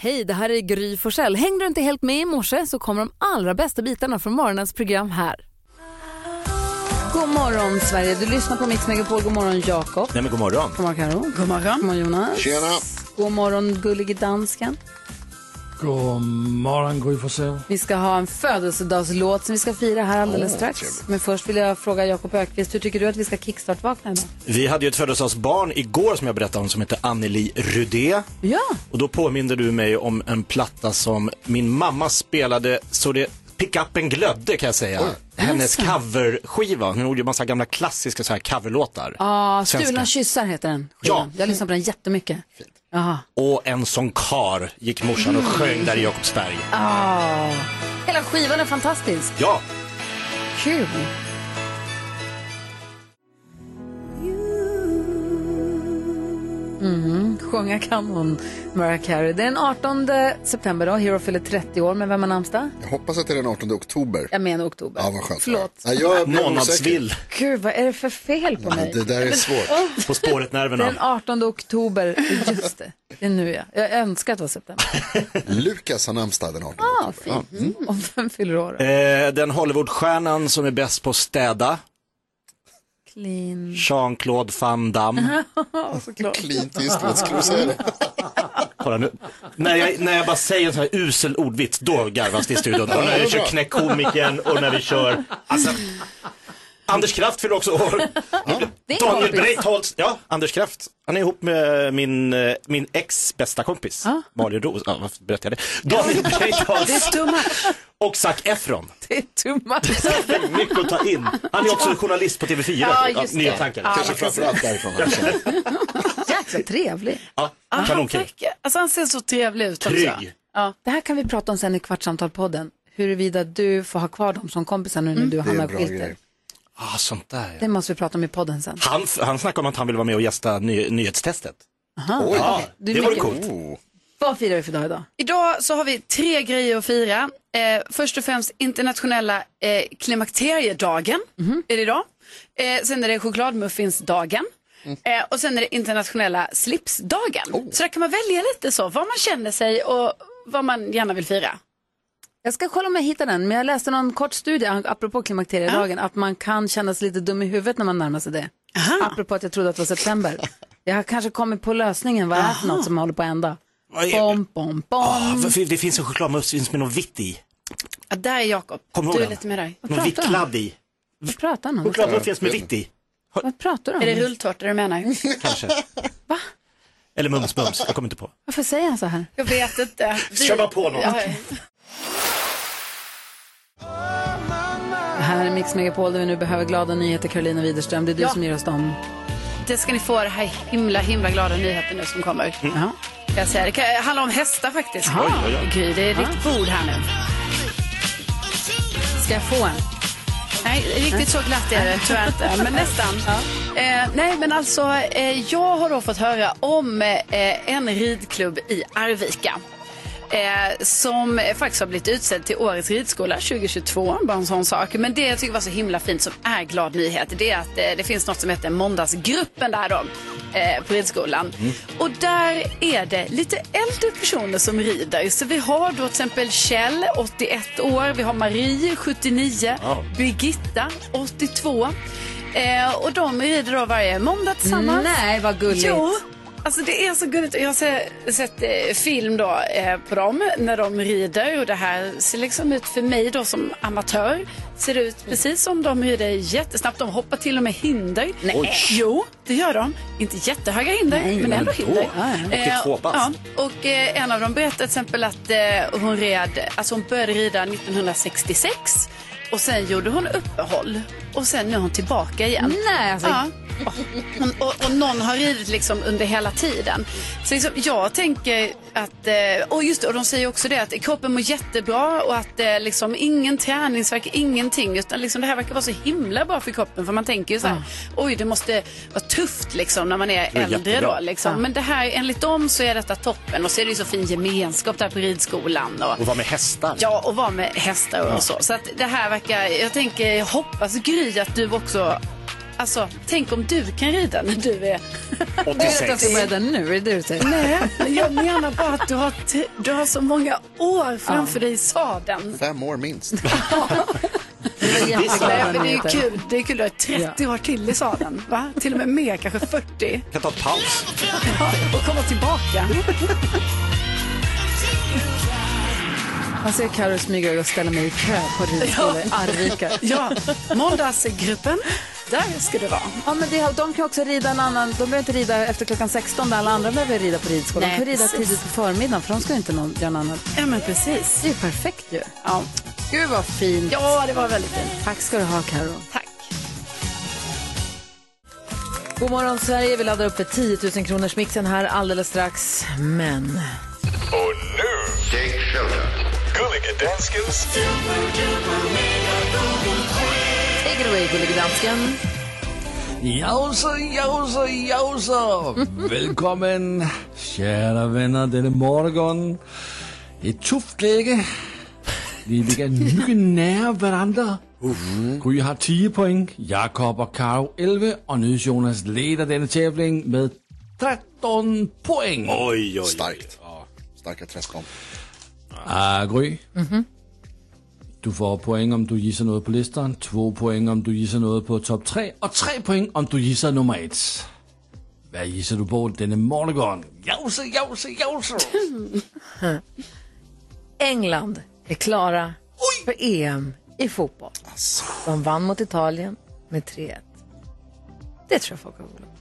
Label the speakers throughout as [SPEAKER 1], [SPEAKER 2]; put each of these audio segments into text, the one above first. [SPEAKER 1] Hej, det här är Gry Forssell. Hängde du inte helt med i morse så kommer de allra bästa bitarna från morgonens program här. God morgon Sverige, du lyssnar på Mix Megapol. God morgon Jakob.
[SPEAKER 2] Nej men god morgon.
[SPEAKER 1] God morgon Karo. God morgon. God morgon Jonas.
[SPEAKER 3] Tjena.
[SPEAKER 1] God morgon gullige dansken.
[SPEAKER 4] God morgon Gry Forssell.
[SPEAKER 1] Vi ska ha en födelsedagslåt som vi ska fira här alldeles strax. Men först vill jag fråga Jakob Ökvist, hur tycker du att vi ska kickstart-vakna idag?
[SPEAKER 2] Vi hade ju ett födelsedagsbarn igår som jag berättade om som heter Anneli Rudé.
[SPEAKER 1] Ja.
[SPEAKER 2] Och då påminde du mig om en platta som min mamma spelade så det pickupen glödde kan jag säga. Hennes coverskiva. Hon gjorde ju massa gamla klassiska så här coverlåtar.
[SPEAKER 1] Ah,
[SPEAKER 2] Svenska.
[SPEAKER 1] Stulna kyssar heter den.
[SPEAKER 2] Ja.
[SPEAKER 1] Jag lyssnar på den jättemycket. Jaha.
[SPEAKER 2] Och en sån kar gick morsan och sjöng där i Jakobsberg.
[SPEAKER 1] Ah. Hela skivan är fantastisk.
[SPEAKER 2] Ja,
[SPEAKER 1] Kul. Mm, sjunga kan hon, Mariah Carey. Det är den 18 september då, Hero fyller 30 år, men vem har namnsdag?
[SPEAKER 3] Jag hoppas att det är den 18 oktober.
[SPEAKER 1] Jag menar oktober.
[SPEAKER 3] Ja, vad skönt.
[SPEAKER 1] Förlåt.
[SPEAKER 3] Nej, jag blir
[SPEAKER 2] månadsvill
[SPEAKER 1] Gud, vad är det för fel på
[SPEAKER 3] osäker.
[SPEAKER 1] mig?
[SPEAKER 3] Det där är svårt.
[SPEAKER 2] på spåret-nerverna.
[SPEAKER 1] Den 18 oktober, just det. Det är nu jag. Jag önskar att det var september.
[SPEAKER 3] Lukas har namnsdag den 18
[SPEAKER 1] Ah, fint. Mm. Och vem fyller år då?
[SPEAKER 2] Eh, den Hollywoodstjärnan som är bäst på att städa,
[SPEAKER 1] Clean.
[SPEAKER 2] Jean-Claude Van Damme.
[SPEAKER 1] Ja, såklart.
[SPEAKER 3] Klint Eastwood, skulle du säga det?
[SPEAKER 2] Kolla nu. När jag, när jag bara säger en sån här usel ordvits, då garvas det i studion. Och när vi kör Knäck komikern och när vi kör, alltså, Anders Kraft fyller också år.
[SPEAKER 1] Det är
[SPEAKER 2] Daniel
[SPEAKER 1] kompis.
[SPEAKER 2] Breitholtz, ja, Anders Kraft. Han är ihop med min, eh, min ex bästa kompis, Malin Roos. Ja, varför berättar jag det? Daniel Breitholtz och Zac Efron.
[SPEAKER 1] Det är too much.
[SPEAKER 2] Mycket att ta in. Han är också journalist på TV4.
[SPEAKER 1] Ja, just det.
[SPEAKER 2] nya tankar.
[SPEAKER 3] Kanske framförallt därifrån.
[SPEAKER 1] Jäkla trevlig.
[SPEAKER 2] Ja, Kanonkul.
[SPEAKER 5] Alltså han ser så trevlig ut
[SPEAKER 2] Trygg.
[SPEAKER 1] Det här kan vi prata om sen i Kvartsamtal-podden. Huruvida du får ha kvar dem som kompisar nu när du och
[SPEAKER 3] Det är
[SPEAKER 1] Hanna
[SPEAKER 3] en
[SPEAKER 1] har
[SPEAKER 3] bra
[SPEAKER 1] skilt
[SPEAKER 3] grej.
[SPEAKER 1] er.
[SPEAKER 2] Ah, sånt där ja.
[SPEAKER 1] Det måste vi prata om i podden sen.
[SPEAKER 2] Han, han snackade om att han ville vara med och gästa ny, nyhetstestet. Ja,
[SPEAKER 1] Du
[SPEAKER 2] det vore
[SPEAKER 1] lägger-
[SPEAKER 2] coolt.
[SPEAKER 3] Oh,
[SPEAKER 1] Vad firar vi för dag idag?
[SPEAKER 5] Idag så har vi tre grejer att fira. Eh, först och främst internationella eh, klimakteriedagen. Är det idag? Eh, sen är det chokladmuffinsdagen. Eh, och sen är det internationella slipsdagen. Så där kan man välja lite så, vad man känner sig och vad man gärna vill fira.
[SPEAKER 1] Jag ska kolla om jag hittar den, men jag läste någon kort studie an- apropå klimakteriedagen, att man kan känna sig lite dum i huvudet när man närmar sig det. Apropå att jag trodde att det var september. Jag har kanske kommit på lösningen, vad är det för något som håller på att ända?
[SPEAKER 2] Vad är-
[SPEAKER 1] Bom, bom, bom.
[SPEAKER 2] Ah, för- för det finns en chokladmuffins med något vitt i.
[SPEAKER 5] Ja, där är Jakob.
[SPEAKER 2] Kommer du ihåg
[SPEAKER 5] Du är
[SPEAKER 2] den?
[SPEAKER 5] lite med där.
[SPEAKER 2] Någon vitt kladd i.
[SPEAKER 1] Vad pratar han om?
[SPEAKER 2] Chokladmuffins med vitt i,
[SPEAKER 1] Vad pratar
[SPEAKER 5] Är det
[SPEAKER 1] du om?
[SPEAKER 5] rulltårta du menar?
[SPEAKER 2] kanske.
[SPEAKER 1] Va?
[SPEAKER 2] Eller mums-mums, jag kommer inte på.
[SPEAKER 1] Varför säger han så här?
[SPEAKER 5] Jag vet inte.
[SPEAKER 2] Kör bara på något.
[SPEAKER 5] Ja,
[SPEAKER 1] Här är Mix Megapol där vi nu behöver glada nyheter. Karolina Widerström, det är du
[SPEAKER 5] Ja.
[SPEAKER 1] som ger oss dem.
[SPEAKER 5] Det ska ni få, det här himla, himla glada nyheten nu som kommer.
[SPEAKER 2] Mm.
[SPEAKER 1] Ja.
[SPEAKER 5] Kan jag säga. Det kan handla om hästar faktiskt.
[SPEAKER 2] Oj, oj, oj.
[SPEAKER 5] Gry, det är riktigt bord här nu.
[SPEAKER 1] Ska jag få en?
[SPEAKER 5] Nej, riktigt så glatt är det tyvärr inte, men nästan. Eh, nej, men alltså, eh, jag har då fått höra om eh, en ridklubb i Arvika. Eh, som eh, faktiskt har blivit utsedd till årets ridskola 2022, bara en sån sak. Men det jag tycker var så himla fint som är glad nyhet, det är att eh, det finns något som heter Måndagsgruppen där då, eh, på ridskolan. Och där är det lite äldre personer som rider. Så vi har då till exempel Kjell, 81 år, vi har Marie, 79,
[SPEAKER 2] Wow.
[SPEAKER 5] Birgitta, 82. Eh, och de rider då varje måndag tillsammans.
[SPEAKER 1] Nej, vad gulligt.
[SPEAKER 5] Jo, alltså det är så gulligt. Jag har se, sett eh, film då, eh, på dem när de rider och det här ser liksom ut för mig då som amatör. Ser det ut precis som de rider jättesnabbt. De hoppar till och med hinder.
[SPEAKER 2] Oj.
[SPEAKER 5] Jo, det gör de. Inte jättehöga hinder,
[SPEAKER 1] Nej,
[SPEAKER 5] men
[SPEAKER 1] men
[SPEAKER 5] ändå hinder.
[SPEAKER 1] Ja,
[SPEAKER 2] ja. 82
[SPEAKER 5] Eh,
[SPEAKER 2] bast.
[SPEAKER 5] ja, och eh, en av dem berättade till exempel att eh, hon, red, alltså hon började rida 1966 och sen gjorde hon uppehåll och sen nu är hon tillbaka igen.
[SPEAKER 1] Nej, alltså.
[SPEAKER 5] Ja. Och, och, och någon har ridit liksom under hela tiden. Så liksom, jag tänker att, eh, och just det, och de säger också det att kroppen mår jättebra och att eh, liksom ingen träningsvärk, ingenting. Utan liksom, det här verkar vara så himla bra för kroppen för man tänker ju så här, oj det måste vara tufft liksom när man är
[SPEAKER 2] är
[SPEAKER 5] äldre då.
[SPEAKER 2] jättebra.
[SPEAKER 5] Liksom. Men det här, enligt dem så är detta toppen och så är det ju så fin gemenskap där på ridskolan. Och,
[SPEAKER 2] Och vara med hästar.
[SPEAKER 5] Ja, och vara med hästar och så. Så att det här verkar, jag tänker, jag hoppas Gry att du också Alltså, tänk om du kan rida när du är...
[SPEAKER 6] Du vet att
[SPEAKER 2] 86.
[SPEAKER 6] du började nu, är det det du säger?
[SPEAKER 5] Nej, men jag menar bara att du har, t- du har så många år framför dig i sadeln.
[SPEAKER 3] Fem år minst.
[SPEAKER 6] Det var jätteglada
[SPEAKER 5] Nej, men det är ju
[SPEAKER 6] nyheter.
[SPEAKER 5] kul. Det är kul att du har 30 år till i sadeln. Va? Till och med mer, kanske 40.
[SPEAKER 2] Kan ta paus.
[SPEAKER 5] Ja, och komma tillbaka.
[SPEAKER 6] Han ser Carro smyga och ställa mig i kö på ridskolor i Arvika.
[SPEAKER 5] Ja, måndagsgruppen. Där ska du vara.
[SPEAKER 6] Ja, men det, de kan också rida en annan, de behöver inte rida efter klockan 16 där alla andra behöver rida på ridskolan.
[SPEAKER 5] Nej,
[SPEAKER 6] de kan rida
[SPEAKER 5] precis.
[SPEAKER 6] tidigt på förmiddagen för de ska ju inte någon, göra något annat.
[SPEAKER 5] Ja, men precis.
[SPEAKER 6] Det är ju perfekt ju.
[SPEAKER 5] Ja,
[SPEAKER 6] Gud vad fint.
[SPEAKER 5] ja det var väldigt fint.
[SPEAKER 6] Tack ska du ha Karo.
[SPEAKER 5] Tack.
[SPEAKER 6] God morgon Sverige, vi laddar upp för 10 000 kronors mixen här alldeles strax. Men
[SPEAKER 7] Och nu, Take Shelter. Gullige Danskens
[SPEAKER 6] take it away gullige dansken.
[SPEAKER 4] Jausa, jausa, jausa! Välkommen, kära vänner, denna morgon. Ett tufft läge. Vi ligger mycket nära varandra. Gry har 10 poäng, Jakob och Karo 11 och nu Jonas leder denna tävling med 13 poäng.
[SPEAKER 2] Oj, oj, oj.
[SPEAKER 3] Starkt. Starka träskon.
[SPEAKER 4] Ah, Gry. Du får poäng om du gissar noget på listeren, två poäng om du gissar noget på top 3, og tre poäng om du gissar nummer ett. Hvad gissar du på denne morgen? Jause, jause, jause!
[SPEAKER 1] England är klara för EM i fotboll. De vann mot Italien med 3-1. Det tror jag folk har oroat.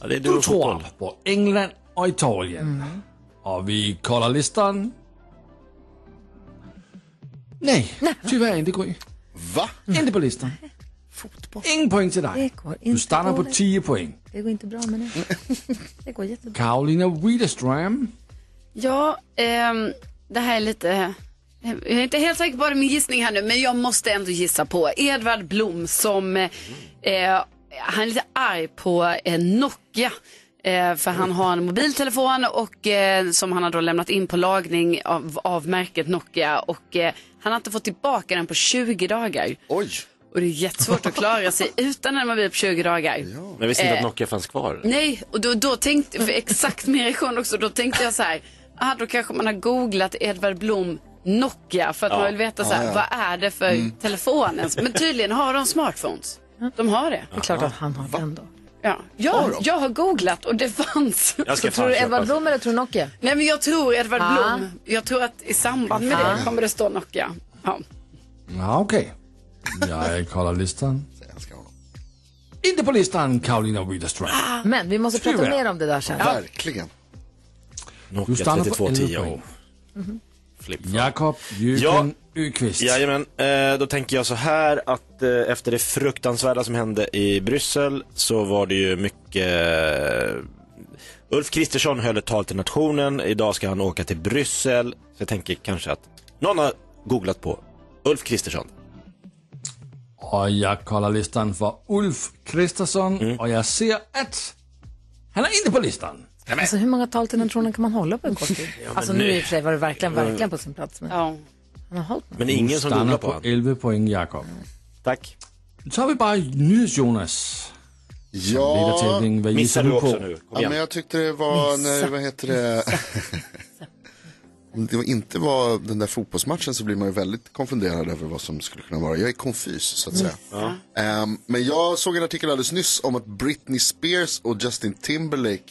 [SPEAKER 2] Ja, det är du
[SPEAKER 4] Du
[SPEAKER 2] och fotboll.
[SPEAKER 4] tror på England och Italien. Och vi kollar listan. Nej, tyvärr inte Gry.
[SPEAKER 3] Va?
[SPEAKER 4] Inte på listan.
[SPEAKER 1] Fotboll,
[SPEAKER 4] Ingen poäng till dig.
[SPEAKER 1] det går inte
[SPEAKER 4] Du stannar på
[SPEAKER 1] dåligt.
[SPEAKER 4] 10 poäng.
[SPEAKER 1] Det går inte bra med det. Det går jättebra.
[SPEAKER 4] Karolina Widerström.
[SPEAKER 5] Ja, ehm, det här är lite... Jag är inte helt säker på det, min gissning här nu, men jag måste ändå gissa på Edvard Blom som... eh, Eh, han är lite arg på eh, Nokia. Eh, för han har en mobiltelefon och, eh, som han har då lämnat in på lagning av, av märket Nokia. Och, eh, han har inte fått tillbaka den på 20 dagar.
[SPEAKER 3] Oj.
[SPEAKER 5] Och det är jättesvårt att klara sig utan en mobil på 20 dagar.
[SPEAKER 2] Men jag visste inte att Nokia fanns kvar.
[SPEAKER 5] Nej, och då, då tänkte, för exakt min reaktion också, då tänkte jag så här, ah, då kanske man har googlat Edvard Blom Nokia för att man vill veta så här, vad är det för telefonen? Men tydligen har de smartphones. De har det.
[SPEAKER 1] Det är klart att han har den då.
[SPEAKER 5] Ja. Jag, jag har googlat och det fanns.
[SPEAKER 2] Jag
[SPEAKER 1] Tror
[SPEAKER 2] ska fan
[SPEAKER 1] du
[SPEAKER 2] köpa.
[SPEAKER 1] Edvard Blom eller tror du Nokia?
[SPEAKER 5] Nej men jag tror Edvard
[SPEAKER 1] Ah.
[SPEAKER 5] Blom, jag tror att i samband med det kommer det stå Nokia. Ja.
[SPEAKER 4] Ja, okay. Jeg kolder listeren.
[SPEAKER 3] Jag älskar honom.
[SPEAKER 4] Inte på listan, Karolina Widerström.
[SPEAKER 2] Ah.
[SPEAKER 1] Men vi måste prata
[SPEAKER 4] Tror jag.
[SPEAKER 1] mer om det där sen.
[SPEAKER 3] Verkligen.
[SPEAKER 4] Du
[SPEAKER 2] Nokia
[SPEAKER 4] stannar på
[SPEAKER 2] 3210.
[SPEAKER 4] 11
[SPEAKER 2] ja.
[SPEAKER 4] poäng.
[SPEAKER 2] Flip.
[SPEAKER 4] Jakob Jöken Öqvist.
[SPEAKER 2] Jajamän, eh, då tänker jag så här att eh, efter det fruktansvärda som hände i Bryssel så var det ju mycket eh, Ulf Kristersson höll ett tal till nationen, idag ska han åka till Bryssel. Så jag tänker kanske att någon har googlat på Ulf Kristersson.
[SPEAKER 4] Och jag kollar listan för Ulf Kristersson
[SPEAKER 2] Mm.
[SPEAKER 4] och jag ser att han är inte på listan.
[SPEAKER 1] Alltså hur många tal till den tronen kan man hålla på en kort tid? Alltså nu i och för sig var det verkligen, verkligen på sin plats. Men
[SPEAKER 5] ja.
[SPEAKER 1] han har hållit några.
[SPEAKER 2] Men ingen som
[SPEAKER 4] Stannar
[SPEAKER 2] googlar på
[SPEAKER 4] på
[SPEAKER 2] honom.
[SPEAKER 4] 11 poäng, Jakob.
[SPEAKER 2] Tack.
[SPEAKER 4] Nu tar vi bara NyhetsJonas.
[SPEAKER 3] Ja.
[SPEAKER 4] Ledartävling, vad
[SPEAKER 2] Missar
[SPEAKER 4] gissar
[SPEAKER 2] du
[SPEAKER 4] du
[SPEAKER 2] också
[SPEAKER 4] på?
[SPEAKER 2] nu? Kom
[SPEAKER 3] ja men
[SPEAKER 2] igen.
[SPEAKER 3] jag tyckte det var, nej, vad heter det? Om det inte var den där fotbollsmatchen så blir man ju väldigt konfunderad över vad som skulle kunna vara. Jag är konfys så att
[SPEAKER 2] Mm.
[SPEAKER 3] säga. Ehm, men jag såg en artikel alldeles nyss om att Britney Spears och Justin Timberlake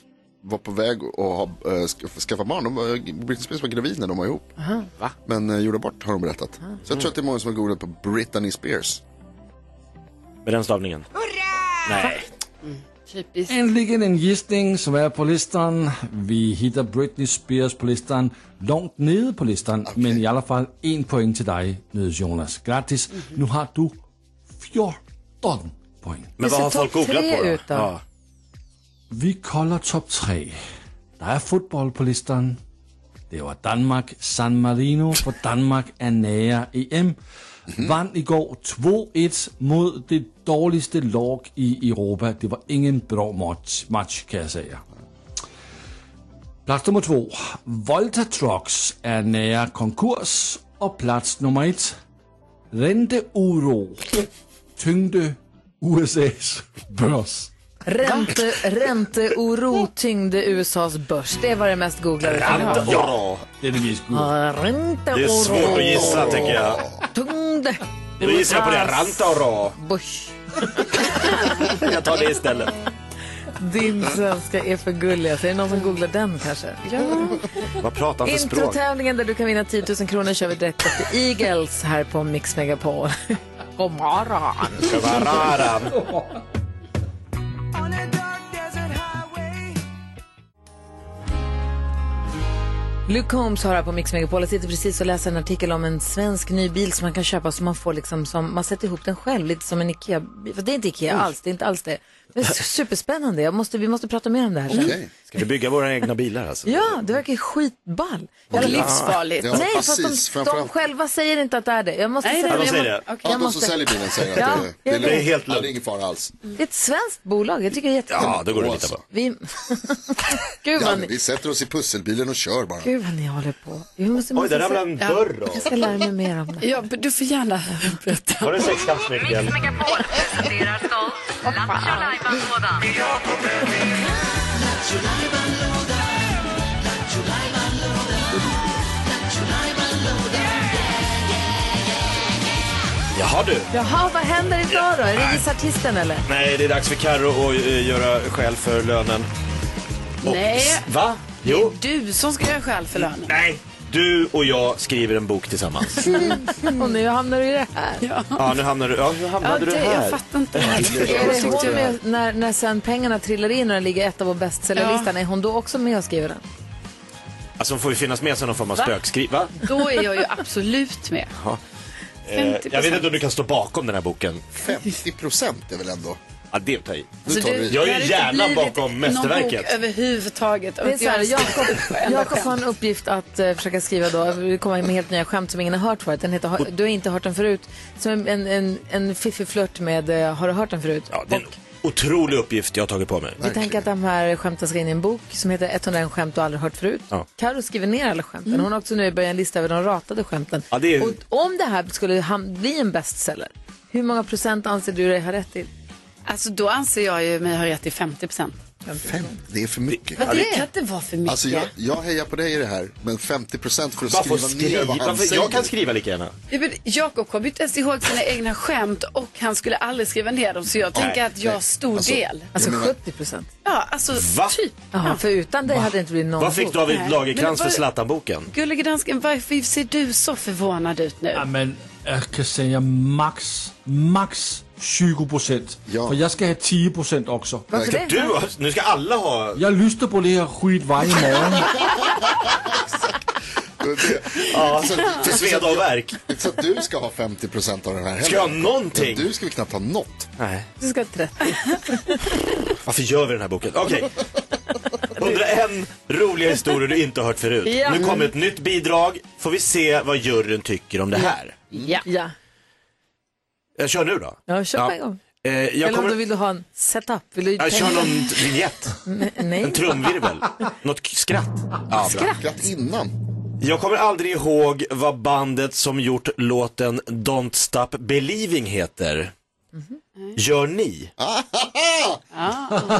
[SPEAKER 3] var på väg att ha, eh, sk- skaffa barn. De, var- Britney Spears var gravid när de var ihop. Men eh, gjorde bort har de berättat. Så jag tror att det är många som har googlat på Britney Spears.
[SPEAKER 2] Mm. Med den stavningen. Nej.
[SPEAKER 5] Typiskt.
[SPEAKER 4] Äntligen en gissning som är på listan. Vi hittar Britney Spears på listan. Långt nere på listan, men i alla fall en poäng till dig, NyhetsJonas. Grattis, nu har du 14 poäng.
[SPEAKER 2] Men vad
[SPEAKER 1] ser
[SPEAKER 2] har folk
[SPEAKER 1] topp
[SPEAKER 2] googlat
[SPEAKER 1] tre
[SPEAKER 2] på då?
[SPEAKER 1] ut då?
[SPEAKER 2] Ja.
[SPEAKER 4] Vi kollar topp tre. Der er fodbold på listen. Det var Danmark, San Marino, for Danmark er nære EM. Vandt i går 2-1 mod det dårligste lag i Europa. Det var ingen bra match, match kan jeg sige jer. Plads nummer 2. Volta Trucks er nære konkurs. Og plads nummer 1. Rente Uro. Tyngde USA's börs.
[SPEAKER 1] Ränte, ränteoro tyngde USAs börs. Det var det mest googlade. Ränteoro.
[SPEAKER 2] Ja,
[SPEAKER 4] Det är det mest gode.
[SPEAKER 1] Ränteoro.
[SPEAKER 2] det är svårt att gissa tycker jag.
[SPEAKER 1] Tyngde
[SPEAKER 2] Då gissar jag på det. Rantaro.
[SPEAKER 1] börs.
[SPEAKER 2] Jag tar det istället.
[SPEAKER 1] Din svenska är för gullig. Alltså, är det någon som googlar den kanske? Mm.
[SPEAKER 2] Vad pratar han för språk?
[SPEAKER 1] Introtävlingen där du kan vinna 10 000 kronor kör vi direkt efter Eagles här på Mix Megapol. God morgon.
[SPEAKER 2] Kavararan.
[SPEAKER 1] Luke Holmes har här på Mix Megapol. Jag sitter precis och läser en artikel om en svensk ny bil som man kan köpa som man får liksom som, man sätter ihop den själv lite som en Ikea. Fast det är inte Ikea alls, det är inte alls det. Det är su- superspännande. Jag måste, vi måste prata mer om det här sen.
[SPEAKER 3] Okej.
[SPEAKER 2] Ska vi bygga våra egna bilar alltså?
[SPEAKER 1] Ja, det verkar skitball.
[SPEAKER 5] Och livsfarligt.
[SPEAKER 3] Ja,
[SPEAKER 1] Nej,
[SPEAKER 3] precis.
[SPEAKER 1] fast de, de
[SPEAKER 3] Framförallt.
[SPEAKER 1] själva säger inte att det är det. Jag måste
[SPEAKER 5] Nej, det
[SPEAKER 1] säga
[SPEAKER 5] är
[SPEAKER 2] Ja, de
[SPEAKER 5] det.
[SPEAKER 2] säger det.
[SPEAKER 5] Jag må- Okej.
[SPEAKER 3] Ja,
[SPEAKER 1] Jag
[SPEAKER 3] de som
[SPEAKER 1] måste-
[SPEAKER 3] säljer bilen säger att
[SPEAKER 1] Ja,
[SPEAKER 3] det,
[SPEAKER 1] jag
[SPEAKER 3] är
[SPEAKER 1] vet.
[SPEAKER 2] Det är helt
[SPEAKER 3] Ja,
[SPEAKER 2] lugnt.
[SPEAKER 3] Det är ingen fara alls.
[SPEAKER 1] det är ett svenskt bolag. Jag tycker det är jättekul.
[SPEAKER 2] Ja, då går det att lita på.
[SPEAKER 1] Vi... Gud,
[SPEAKER 3] Ja,
[SPEAKER 1] vad ni...
[SPEAKER 3] vi sätter oss i pusselbilen och kör bara.
[SPEAKER 1] Gud vad ni håller på. Vi måste,
[SPEAKER 2] Oj,
[SPEAKER 1] måste
[SPEAKER 2] där ramlade en dörr av.
[SPEAKER 1] Jag ska lära mig mer om det.
[SPEAKER 5] Ja, men du får gärna berätta.
[SPEAKER 2] Var det sexkantsnyckeln? Jaha du.
[SPEAKER 1] Jaha, vad händer idag då? Är det Gissa artisten eller?
[SPEAKER 2] Nej, det är dags för Karo att eh, göra skäl för lönen. Och-
[SPEAKER 5] Nej.
[SPEAKER 2] Va? Jo.
[SPEAKER 5] Du som ska göra skäl för lönen.
[SPEAKER 2] Nej. Du och jag skriver en bok tillsammans.
[SPEAKER 1] Och nu hamnar du i det här.
[SPEAKER 2] Ja, nu hamnar du, ja, hur
[SPEAKER 5] Ja,
[SPEAKER 2] hamnade du
[SPEAKER 5] det, jag
[SPEAKER 2] här?
[SPEAKER 5] fattar inte.
[SPEAKER 1] Är det hon med när, när sen pengarna trillar in och den ligger ett av vår bestsellerlistan? Är hon då också med och skriver den?
[SPEAKER 2] Alltså hon får ju finnas med som någon form av spökskri... Va?
[SPEAKER 5] Då är jag ju absolut med.
[SPEAKER 2] Eh, jag vet
[SPEAKER 5] 50%.
[SPEAKER 2] inte om du kan stå bakom den här boken.
[SPEAKER 3] 50 procent är väl ändå.
[SPEAKER 2] Ja, det är att ta i.
[SPEAKER 3] Nu tar vi.
[SPEAKER 2] Jag är
[SPEAKER 5] Alltså, det hade inte
[SPEAKER 2] gärna
[SPEAKER 5] blivit
[SPEAKER 2] bakom
[SPEAKER 5] Någon bok
[SPEAKER 2] mästerverket.
[SPEAKER 5] överhuvudtaget.
[SPEAKER 1] Det är så här, Jakob, Jakob har en uppgift att eh, försöka skriva då, vi kommer med helt nya skämt som ingen har hört förut. Den heter, Har- du har inte hört den förut. Som en, en, en, en fiffig flört med eh, Har du hört den förut?
[SPEAKER 2] Ja, det är en
[SPEAKER 1] Och
[SPEAKER 2] otrolig uppgift jag har tagit på mig.
[SPEAKER 1] vi tänker att de här skämten ska in i en bok som heter 101 skämt du aldrig hört förut.
[SPEAKER 2] Ja.
[SPEAKER 1] Karo skriver ner alla skämten. Hon har också nu börjat en lista över de ratade skämten.
[SPEAKER 2] Ja, det är-
[SPEAKER 1] Och om det här skulle ham- bli en bestseller, hur många procent anser du dig ha rätt till?
[SPEAKER 5] Alltså då anser jag ju mig ha rätt till 50 procent.
[SPEAKER 3] Fem, det är för mycket.
[SPEAKER 5] det kan inte vara för mycket.
[SPEAKER 3] Alltså jag, jag hejar på dig i det här, men 50 procent för att
[SPEAKER 2] Varför
[SPEAKER 3] skriva ner
[SPEAKER 2] skriva?
[SPEAKER 3] vad han
[SPEAKER 2] Varför?
[SPEAKER 3] säger.
[SPEAKER 2] Jag kan skriva lika gärna.
[SPEAKER 5] Ja, men Jakob kommer ju inte ens ihåg sina egna skämt och han skulle aldrig skriva ner dem så jag tänker att jag har stor
[SPEAKER 3] Alltså-
[SPEAKER 5] del.
[SPEAKER 1] Alltså
[SPEAKER 3] menar-
[SPEAKER 1] 70 procent.
[SPEAKER 5] Ja, alltså
[SPEAKER 2] Va?
[SPEAKER 5] typ.
[SPEAKER 1] Ja, för utan dig hade det inte blivit någon
[SPEAKER 2] Vad fick
[SPEAKER 1] bok.
[SPEAKER 2] David
[SPEAKER 5] Nej.
[SPEAKER 2] Lagercrantz
[SPEAKER 5] Men
[SPEAKER 2] för
[SPEAKER 5] vad-
[SPEAKER 2] Zlatan-boken?
[SPEAKER 5] Gullige dansken, varför ser du så förvånad ut nu?
[SPEAKER 4] Ja, men jag kan säga max, max 20 procent.
[SPEAKER 3] Ja.
[SPEAKER 4] För jag ska ha 10 procent också.
[SPEAKER 1] Varför det?
[SPEAKER 2] Du, har- nu ska alla ha...
[SPEAKER 4] Jag lyssnar på det här skit varje morgon.
[SPEAKER 2] Ja, för sveda och värk.
[SPEAKER 3] Så att du ska ha 50 procent av den här heller.
[SPEAKER 2] Ska jag ha någonting?
[SPEAKER 3] Ja, Du ska väl knappt ha något.
[SPEAKER 2] Nej.
[SPEAKER 1] Du ska ha 30.
[SPEAKER 2] Varför gör vi den här boken? Okej. 101 roliga historier du inte har hört förut.
[SPEAKER 1] Ja.
[SPEAKER 2] Nu kommer ett nytt bidrag. Får vi se vad juryn tycker om det här.
[SPEAKER 1] Ja. ja.
[SPEAKER 2] Jag kör nu då.
[SPEAKER 1] Ja, kör på en gång.
[SPEAKER 2] Eh, jag
[SPEAKER 1] Eller om
[SPEAKER 2] kommer...
[SPEAKER 1] du vill ha en setup? Vill du
[SPEAKER 2] Jag kör någon vignett. En
[SPEAKER 1] Nej.
[SPEAKER 2] trumvirvel. Något k- skratt. Ja, bra.
[SPEAKER 3] Skratt innan.
[SPEAKER 2] Jag kommer aldrig ihåg vad bandet som gjort låten Don't Stop Believing heter. Gör ni?
[SPEAKER 3] Ah.
[SPEAKER 2] Fan,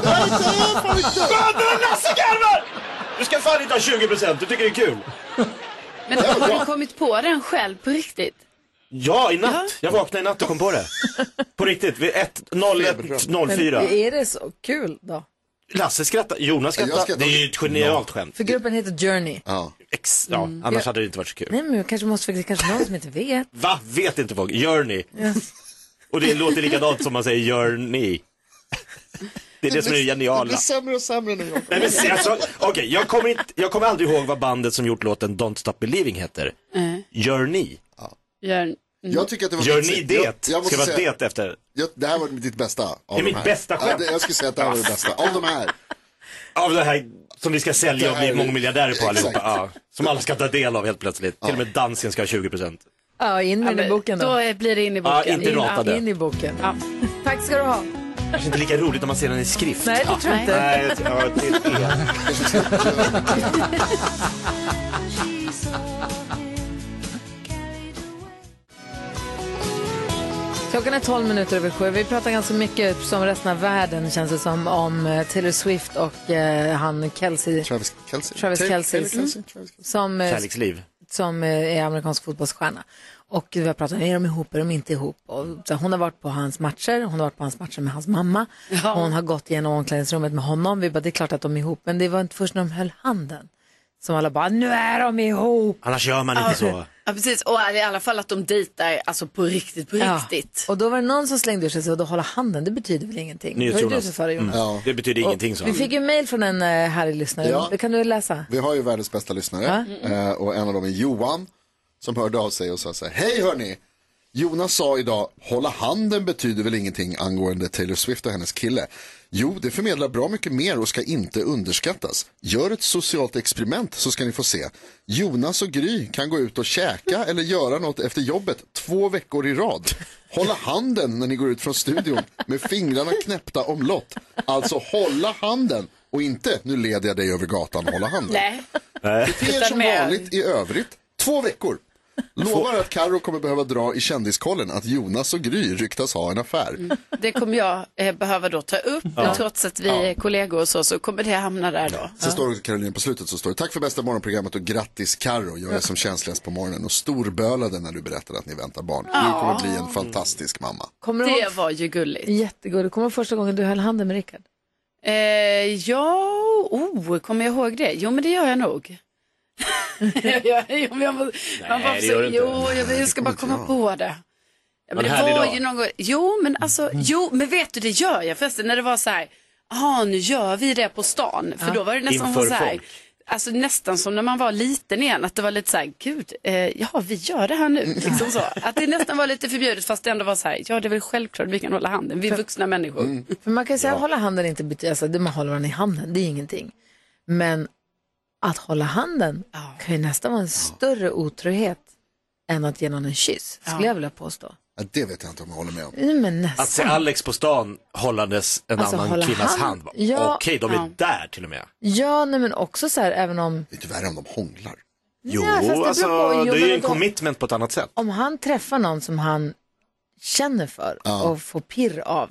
[SPEAKER 2] du är Lasse Garvar! Du ska fan inte ha 20%, du tycker det är kul.
[SPEAKER 5] Men har du kommit på den själv på riktigt?
[SPEAKER 2] Ja, i natt. Jag vaknade i natt och kom på det. På riktigt, vid 1, 01, 04.
[SPEAKER 1] Är det så kul då?
[SPEAKER 2] Lasse skrattar, Jonas
[SPEAKER 3] Jag
[SPEAKER 2] skrattar.
[SPEAKER 3] skrattar.
[SPEAKER 2] Det är ju ett genialt skämt.
[SPEAKER 1] För gruppen heter Journey.
[SPEAKER 3] Ja.
[SPEAKER 2] Ex, ja, annars hade det inte varit så kul.
[SPEAKER 1] Nej men kanske måste det kanske någon som inte vet.
[SPEAKER 2] Va? Vet inte folk? Gör ni? Och det låter likadant som man säger gör ni. Det är det som är det
[SPEAKER 3] Det blir
[SPEAKER 2] geniala.
[SPEAKER 3] sämre och sämre nu. Jakob.
[SPEAKER 2] Nej, men se, alltså, okej, jag, kommer inte, jag kommer aldrig ihåg vad bandet som gjort låten Don't Stop Believing heter. Gör ni?
[SPEAKER 5] Gör...
[SPEAKER 3] Jag tycker att det var
[SPEAKER 2] Gör
[SPEAKER 3] mitt-
[SPEAKER 2] ni det?
[SPEAKER 3] Jag, jag
[SPEAKER 2] Ska
[SPEAKER 3] måste
[SPEAKER 2] vara
[SPEAKER 3] säga,
[SPEAKER 2] det efter?
[SPEAKER 3] Jag, det här var ditt bästa. Av
[SPEAKER 2] är mitt
[SPEAKER 3] de här.
[SPEAKER 2] bästa
[SPEAKER 3] Ja,
[SPEAKER 2] skämt.
[SPEAKER 3] det, jag skulle säga att det här var det bästa. Av de här.
[SPEAKER 2] Av det här som vi ska sälja och
[SPEAKER 3] Det här
[SPEAKER 2] bli
[SPEAKER 3] är-
[SPEAKER 2] mångmiljardärer på
[SPEAKER 3] Exakt.
[SPEAKER 2] allihopa. Ja, som alla ska ta del av helt plötsligt. Till och med dansken ska ha 20%.
[SPEAKER 1] Ja, in med den i boken då.
[SPEAKER 5] Då eh, blir det in i boken.
[SPEAKER 2] Ja, inte
[SPEAKER 5] In-
[SPEAKER 2] ratade.
[SPEAKER 1] In i boken.
[SPEAKER 5] Ja.
[SPEAKER 1] Tack ska du ha.
[SPEAKER 2] Kanske inte lika roligt om man ser den i skrift.
[SPEAKER 1] Nej, det tror jag inte.
[SPEAKER 2] Nej, jag tror- ja, det är fel.
[SPEAKER 1] Klockan är 12 minuter över sju. Vi pratar ganska mycket som resten av världen känns det som om eh, Taylor Swift och eh, han Kelsey,
[SPEAKER 3] Travis Kelce.
[SPEAKER 1] Travis
[SPEAKER 3] Taylor-
[SPEAKER 1] Kelce.
[SPEAKER 3] Taylor Kelce, Travis Kelce.
[SPEAKER 1] som, eh,
[SPEAKER 2] Kärleksliv.
[SPEAKER 1] som eh, är amerikansk fotbollsstjärna. Och vi har pratat om, är de ihop, är de inte ihop? Och, så, hon har varit på hans matcher, hon har varit på hans matcher med hans mamma. Hon har gått igenom omklädningsrummet med honom. Vi bara, det är klart att de är ihop. Men det var inte först när de höll handen som alla bara, nu är de ihop!
[SPEAKER 2] Annars gör man inte så.
[SPEAKER 5] Ja, precis. Och i alla fall att de dejtar alltså på riktigt, på riktigt.
[SPEAKER 1] Och då var det någon som slängde ur sig så då hålla handen, det betyder väl ingenting? Det var ju du
[SPEAKER 2] NyhetsJonas.
[SPEAKER 1] som sa det Jonas.
[SPEAKER 3] Ja.
[SPEAKER 2] Mm. Det betyder ingenting så.
[SPEAKER 1] Vi fick ju mail från en eh, härlig lyssnare,
[SPEAKER 3] Ja.
[SPEAKER 1] det kan du läsa.
[SPEAKER 3] Vi har ju världens bästa lyssnare eh, och en av dem är Johan som hörde av sig och sa så här, hej hörni, Jonas sa idag, hålla handen betyder väl ingenting angående Taylor Swift och hennes kille. Jo, det förmedlar bra mycket mer och ska inte underskattas. Gör ett socialt experiment så ska ni få se. Jonas och Gry kan gå ut och käka eller göra något efter jobbet två veckor i rad. Hålla handen när ni går ut från studion med fingrarna knäppta omlott. Alltså hålla handen och inte nu leder jag dig över gatan hålla handen.
[SPEAKER 5] Nej.
[SPEAKER 3] Bete er som
[SPEAKER 5] med-
[SPEAKER 3] vanligt i övrigt. Två veckor. Lovar att Karo kommer behöva dra i kändiskollen att Jonas och Gry ryktas ha en affär.
[SPEAKER 5] Det kommer jag eh, behöva då ta upp. Trots att vi är kollegor och så, så kommer det hamna där då.
[SPEAKER 3] Sen står det också Caroline på slutet så står det tack för bästa morgonprogrammet och grattis Karo. Jag är som känsligast på morgonen och storbölade när du berättade att ni väntar barn. Du kommer bli en fantastisk mamma.
[SPEAKER 1] Kommer du ihåg,
[SPEAKER 5] Det var ju gulligt.
[SPEAKER 1] jättegulligt, kommer du ihåg första gången du höll handen med Rickard?
[SPEAKER 5] Eh, ja, oh, kommer jag ihåg det? Jo, men det gör jag nog. jag, jo, men jag, må- man bara
[SPEAKER 2] det
[SPEAKER 5] så-
[SPEAKER 2] gör du inte.
[SPEAKER 5] Jo, jag, jag ska bara komma på det. Ja, men
[SPEAKER 2] en
[SPEAKER 5] det
[SPEAKER 2] härlig
[SPEAKER 5] var
[SPEAKER 2] dag. Mm.
[SPEAKER 5] ju någon gång, jo men alltså, jo men vet du det gör jag förresten när det var så här, ja nu gör vi det på stan, för då var det nästan
[SPEAKER 2] Inför
[SPEAKER 5] som så här,
[SPEAKER 2] folk.
[SPEAKER 5] alltså nästan som när man var liten igen, att det var lite så här, gud, eh, ja vi gör det här
[SPEAKER 2] Mm.
[SPEAKER 5] nu, liksom så. Att det nästan var lite förbjudet fast det ändå var så här, ja det är väl självklart vi kan hålla handen, vi är vuxna människor.
[SPEAKER 1] För man kan ju säga att hålla handen inte betyder, alltså det man håller varandra i handen, det är ingenting. Men att hålla handen kan ju nästan vara en större otrohet än att ge någon en kyss, skulle jag vilja påstå.
[SPEAKER 3] Ja, Det vet jag inte om jag håller med om.
[SPEAKER 1] Nej, Men
[SPEAKER 2] Att se
[SPEAKER 1] nästan.
[SPEAKER 2] Alex på stan hållandes en
[SPEAKER 1] Alltså,
[SPEAKER 2] annan
[SPEAKER 1] hålla
[SPEAKER 2] kvinnas
[SPEAKER 1] hand.
[SPEAKER 2] hand.
[SPEAKER 1] Ja.
[SPEAKER 2] Okej, de är där till och med.
[SPEAKER 1] Ja, nej, men också så här, även om,
[SPEAKER 3] Det är inte värre om de hånglar.
[SPEAKER 2] Jo,
[SPEAKER 1] fast det beror på-
[SPEAKER 2] alltså
[SPEAKER 1] jo,
[SPEAKER 2] det är
[SPEAKER 1] men
[SPEAKER 2] ju en
[SPEAKER 1] då-
[SPEAKER 2] commitment på ett annat sätt.
[SPEAKER 1] om han träffar någon som han känner för och får pirr av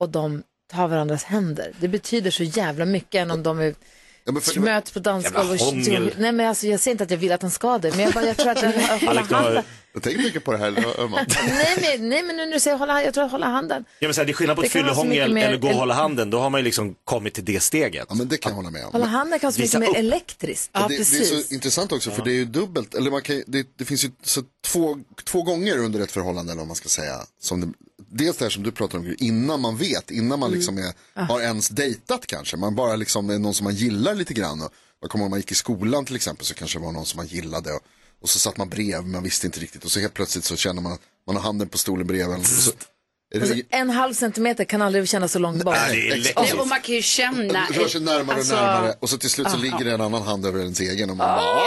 [SPEAKER 1] och de tar varandras händer, det betyder så jävla mycket än om de är
[SPEAKER 3] Ja, men för,
[SPEAKER 1] möts på dansgolv och
[SPEAKER 2] Jävla hångel.
[SPEAKER 1] Nej men alltså jag säger inte att jag vill att han ska det, men jag, bara, jag tror att den hålla
[SPEAKER 2] Alex, du har...
[SPEAKER 1] handen.
[SPEAKER 2] ja,
[SPEAKER 3] jag tänker mycket på det här. Öman.
[SPEAKER 1] Nej men, nej men nu när du säger hålla, jag tror att hålla handen.
[SPEAKER 2] men så här, det är skillnad på
[SPEAKER 1] Det
[SPEAKER 2] ett
[SPEAKER 1] kan vara så
[SPEAKER 2] fyllehångel
[SPEAKER 1] mycket mer-
[SPEAKER 2] eller gå och hålla handen. Då har man ju liksom kommit till det steget.
[SPEAKER 3] Ja, men det kan jag hålla med om.
[SPEAKER 1] Hålla handen kan vara så
[SPEAKER 2] Visa
[SPEAKER 1] mycket mer
[SPEAKER 2] upp.
[SPEAKER 1] elektriskt.
[SPEAKER 5] Ja,
[SPEAKER 3] det, det är
[SPEAKER 5] precis.
[SPEAKER 3] så intressant också för det är ju dubbelt, eller man kan, ju- det, det finns ju så två, två gånger under ett förhållande eller vad man ska säga. Som det, dels det här som du pratar om, innan man vet, innan man liksom är, har ens dejtat kanske. Man bara liksom är någon som man gillar lite grann. Och, jag kommer ihåg när man gick i skolan till exempel så kanske det var någon som man gillade. Och, och så satt man bredvid, man visste inte riktigt. Och så helt plötsligt så känner man att man har handen på stolen bredvid. Och så, är det,
[SPEAKER 1] Alltså, En halv centimeter kan aldrig kännas så långt bort.
[SPEAKER 2] Det är
[SPEAKER 3] exakt.
[SPEAKER 2] lätt.
[SPEAKER 5] Nej, och man kan ju känna...
[SPEAKER 3] rör sig närmare
[SPEAKER 5] alltså-
[SPEAKER 3] och närmare. Och så till slut så ligger det en annan hand över ens egen. Och man bara,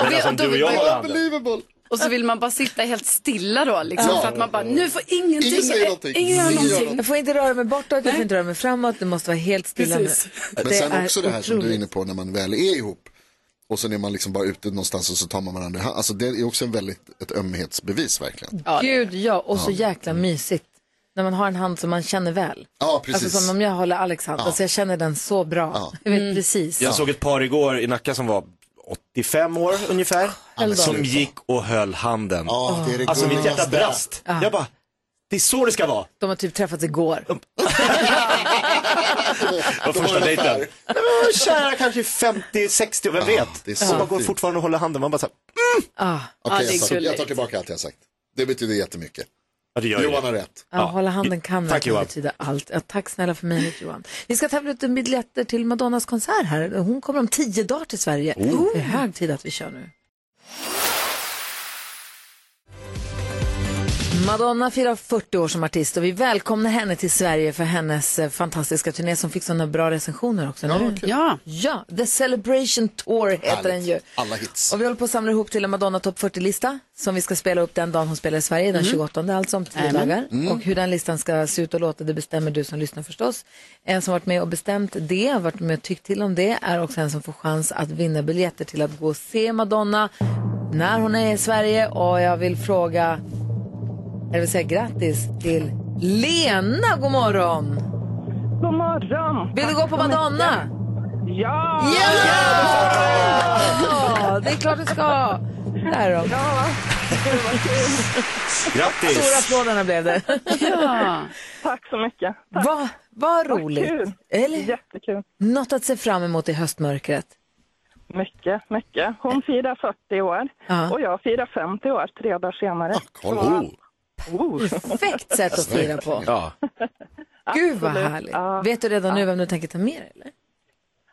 [SPEAKER 2] Men alltså om
[SPEAKER 5] då
[SPEAKER 2] du och
[SPEAKER 5] vill
[SPEAKER 2] jag
[SPEAKER 5] man ju
[SPEAKER 2] håller
[SPEAKER 3] "Ah,
[SPEAKER 2] handen.
[SPEAKER 3] unbelievable.
[SPEAKER 5] Och så vill man bara sitta helt stilla då, liksom,
[SPEAKER 3] Ja.
[SPEAKER 5] för att man bara, nu får ingenting... eh,
[SPEAKER 3] Ingen säger någonting.
[SPEAKER 5] Ingen gör
[SPEAKER 3] Ingen gör
[SPEAKER 5] någonting.
[SPEAKER 1] Jag får inte röra mig bortåt, jag får inte röra mig framåt, det måste vara helt stilla
[SPEAKER 5] Precis.
[SPEAKER 1] nu.
[SPEAKER 3] Men sen
[SPEAKER 1] är
[SPEAKER 3] också det här som du är
[SPEAKER 1] otroligt.
[SPEAKER 3] inne på när man väl är ihop. Och sen är man liksom bara ute någonstans och så tar man varandra i hand. Alltså det är också en väldigt, ett ömhetsbevis verkligen.
[SPEAKER 1] Gud ja, och så jäkla mysigt. När man har en hand som man känner väl.
[SPEAKER 3] Mm. Ja, precis.
[SPEAKER 1] Alltså som om jag håller Alex hand, alltså jag känner den så bra. Jag vet precis.
[SPEAKER 2] Jag såg ett par igår i Nacka som var 85 år ungefär.
[SPEAKER 1] Eller
[SPEAKER 2] Som
[SPEAKER 1] dem.
[SPEAKER 2] gick och höll handen.
[SPEAKER 3] Ja, det är det
[SPEAKER 2] Alltså mitt hjärta
[SPEAKER 3] gulligaste.
[SPEAKER 2] brast. Jag bara, det är så det ska vara.
[SPEAKER 1] De har typ träffats igår.
[SPEAKER 2] Det var första dejten. Nej, men vi var Kära kanske i 50, 60, vem vet?
[SPEAKER 3] det är
[SPEAKER 2] Det
[SPEAKER 3] så
[SPEAKER 2] så man går
[SPEAKER 3] fint.
[SPEAKER 2] fortfarande och håller handen. Man bara så här,
[SPEAKER 3] Okej,
[SPEAKER 5] det är
[SPEAKER 3] jag, tar, jag
[SPEAKER 5] gulligt.
[SPEAKER 3] tar tillbaka allt jag sagt. Det betyder jättemycket.
[SPEAKER 2] ja, det gör ju
[SPEAKER 3] Johan
[SPEAKER 2] det.
[SPEAKER 3] har rätt.
[SPEAKER 1] Ja, hålla handen kan
[SPEAKER 2] Tack,
[SPEAKER 1] verkligen
[SPEAKER 2] Johan.
[SPEAKER 1] betyda allt. Ja, tack snälla för mig, Johan. Vi ska tävla ut en biljetter till Madonnas konsert här. Hon kommer om tio dagar till Sverige. Det är hög tid att vi kör nu. Madonna firar 40 år som artist och vi välkomnar henne till Sverige för hennes eh, fantastiska turné som fick sådana bra recensioner också. Ja,
[SPEAKER 5] Ja,
[SPEAKER 1] ja, The Celebration Tour heter den ju.
[SPEAKER 3] Alla hits.
[SPEAKER 1] Och vi håller på att samla ihop till en Madonna Top 40-lista som vi ska spela upp den dagen hon spelar i Sverige, den 28, alltså om tio dagar. Och hur den listan ska se ut och låta, det bestämmer du som lyssnar förstås. En som varit med och bestämt det, varit med och tyckt till om det, är också en som får chans att vinna biljetter till att gå och se Madonna när hon är i Sverige. Och jag vill fråga, Jag vill säga grattis till Lena. God morgon!
[SPEAKER 8] God morgon!
[SPEAKER 1] Vill du gå på Madonna?
[SPEAKER 8] Ja!
[SPEAKER 1] Ja! Ja, Det är klart du ska! Där då.
[SPEAKER 8] Ja, gud vad kul.
[SPEAKER 1] Stora
[SPEAKER 2] Grattis!
[SPEAKER 1] applåderna blev det.
[SPEAKER 6] Ja.
[SPEAKER 8] Tack så mycket. Tack.
[SPEAKER 1] Vad vad
[SPEAKER 8] Vad
[SPEAKER 1] roligt.
[SPEAKER 8] kul.
[SPEAKER 1] Eller hur?
[SPEAKER 8] Jättekul.
[SPEAKER 1] Något att se fram emot i höstmörkret.
[SPEAKER 8] Mycket, mycket. Hon firar 40 år
[SPEAKER 1] Ja.
[SPEAKER 8] och jag firar 50 år tre dagar senare.
[SPEAKER 3] Kolla. Oh.
[SPEAKER 8] Oh.
[SPEAKER 1] Perfekt sätt att fira på.
[SPEAKER 2] Ja.
[SPEAKER 1] Gud vad
[SPEAKER 8] Absolut.
[SPEAKER 1] härligt.
[SPEAKER 8] Ja.
[SPEAKER 1] Vet du redan nu vem du tänker ta med dig? Eller?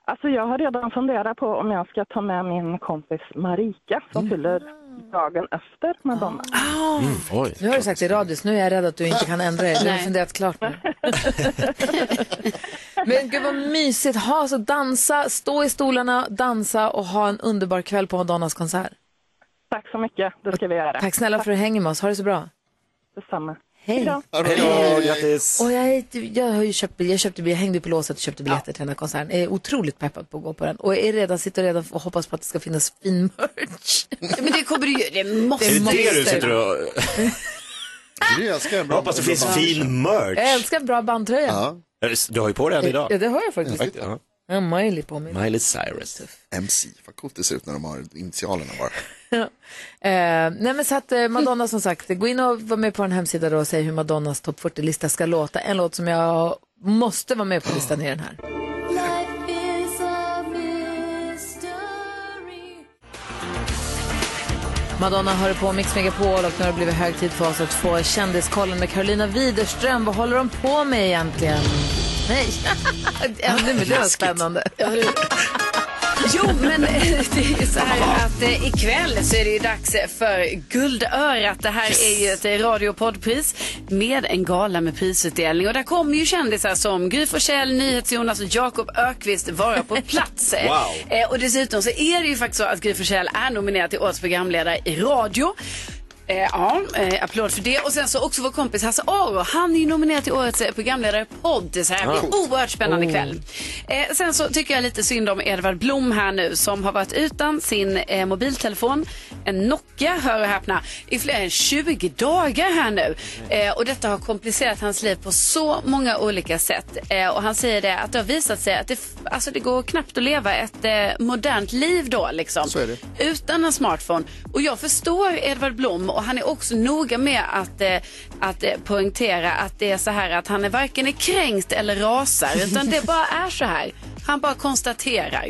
[SPEAKER 8] Alltså jag har redan funderat på om jag ska ta med min kompis Marika
[SPEAKER 1] Mm.
[SPEAKER 8] som fyller dagen efter Madonna.
[SPEAKER 2] Mm, oj.
[SPEAKER 1] Nu har du sagt i radios, nu är jag rädd att du inte kan ändra dig. Du har funderat klart nu. Men gud vad mysigt. Ha, så dansa, stå i stolarna, dansa och ha en underbar kväll på Madonnas konsert.
[SPEAKER 8] Tack så mycket, det ska vi göra.
[SPEAKER 1] Tack snälla för att du hänger med oss. Ha det så bra.
[SPEAKER 8] Detsamma.
[SPEAKER 1] Hej.
[SPEAKER 8] då.
[SPEAKER 2] Hej då, grattis!
[SPEAKER 1] Och jag, är- jag, har ju köpt, jag, köpte, jag hängde på låset och köpte biljetter till den här konserten. Jag är otroligt peppad på att gå på den. Och är redan, sitter redan och hoppas på att det ska finnas fin merch.
[SPEAKER 5] Men det kommer du ju, det måste
[SPEAKER 2] Är det
[SPEAKER 5] du
[SPEAKER 2] det
[SPEAKER 5] ju.
[SPEAKER 2] du sitter och...
[SPEAKER 3] Det älskar jag. Bra.
[SPEAKER 2] Jag hoppas det finns fin
[SPEAKER 1] Jag
[SPEAKER 2] merch.
[SPEAKER 1] älskar en bra bandtröja.
[SPEAKER 3] Ja.
[SPEAKER 2] Du har ju på dig den
[SPEAKER 1] Ja,
[SPEAKER 2] idag.
[SPEAKER 1] det har jag faktiskt.
[SPEAKER 2] Ja.
[SPEAKER 1] Jag har Miley på mig.
[SPEAKER 2] Miley Cyrus.
[SPEAKER 3] MC, vad coolt det ser ut när de har initialerna bara.
[SPEAKER 1] Eh, nej men så att eh, Madonna som sagt, gå in och var med på en hemsida då och säg hur Madonnas topp 40-lista ska låta. En låt som jag måste vara med på listan är den här. Madonna hör på Mix Megapol och nu har det blivit hög tid för oss att få Kändiskollen med Carolina Widerström. Vad håller de på med egentligen? Nej, ännu mer. Det var spännande.
[SPEAKER 5] Jo, men eh, det är ju så här att eh, ikväll så är det ju dags för Guldörat. Det här är ju ett eh, radio- och poddpris med en gala med prisutdelning. Och där kommer ju kändisar som Gry Forssell, NyhetsJonas och Jakob Ökvist vara på plats. Eh,
[SPEAKER 2] Wow.
[SPEAKER 5] Eh, Och dessutom så är det ju faktiskt så att Gry Forssell är nominerad till Årets programledare i radio. Eh, ja, eh, applåd för det. Och sen så också vår kompis Hasse Aro. Han är ju nominerad till årets eh, programledare podd. Så här blir oerhört spännande kväll. Eh, sen så tycker jag lite synd om Edvard Blom här nu som har varit utan sin eh, mobiltelefon, en Nokia, hör och häpna, i fler än 20 dagar här nu. Eh, och detta har komplicerat hans liv på så många olika sätt. Eh, och han säger det att det har visat sig att det, f- alltså det går knappt att leva ett eh, modernt liv då liksom.
[SPEAKER 3] Så är det.
[SPEAKER 5] Utan en smartphone. Och jag förstår Edvard Blom och han är också noga med att, eh, att eh, poängtera att det är så här att han är varken är kränkt eller rasar utan det bara är så här. Han bara konstaterar.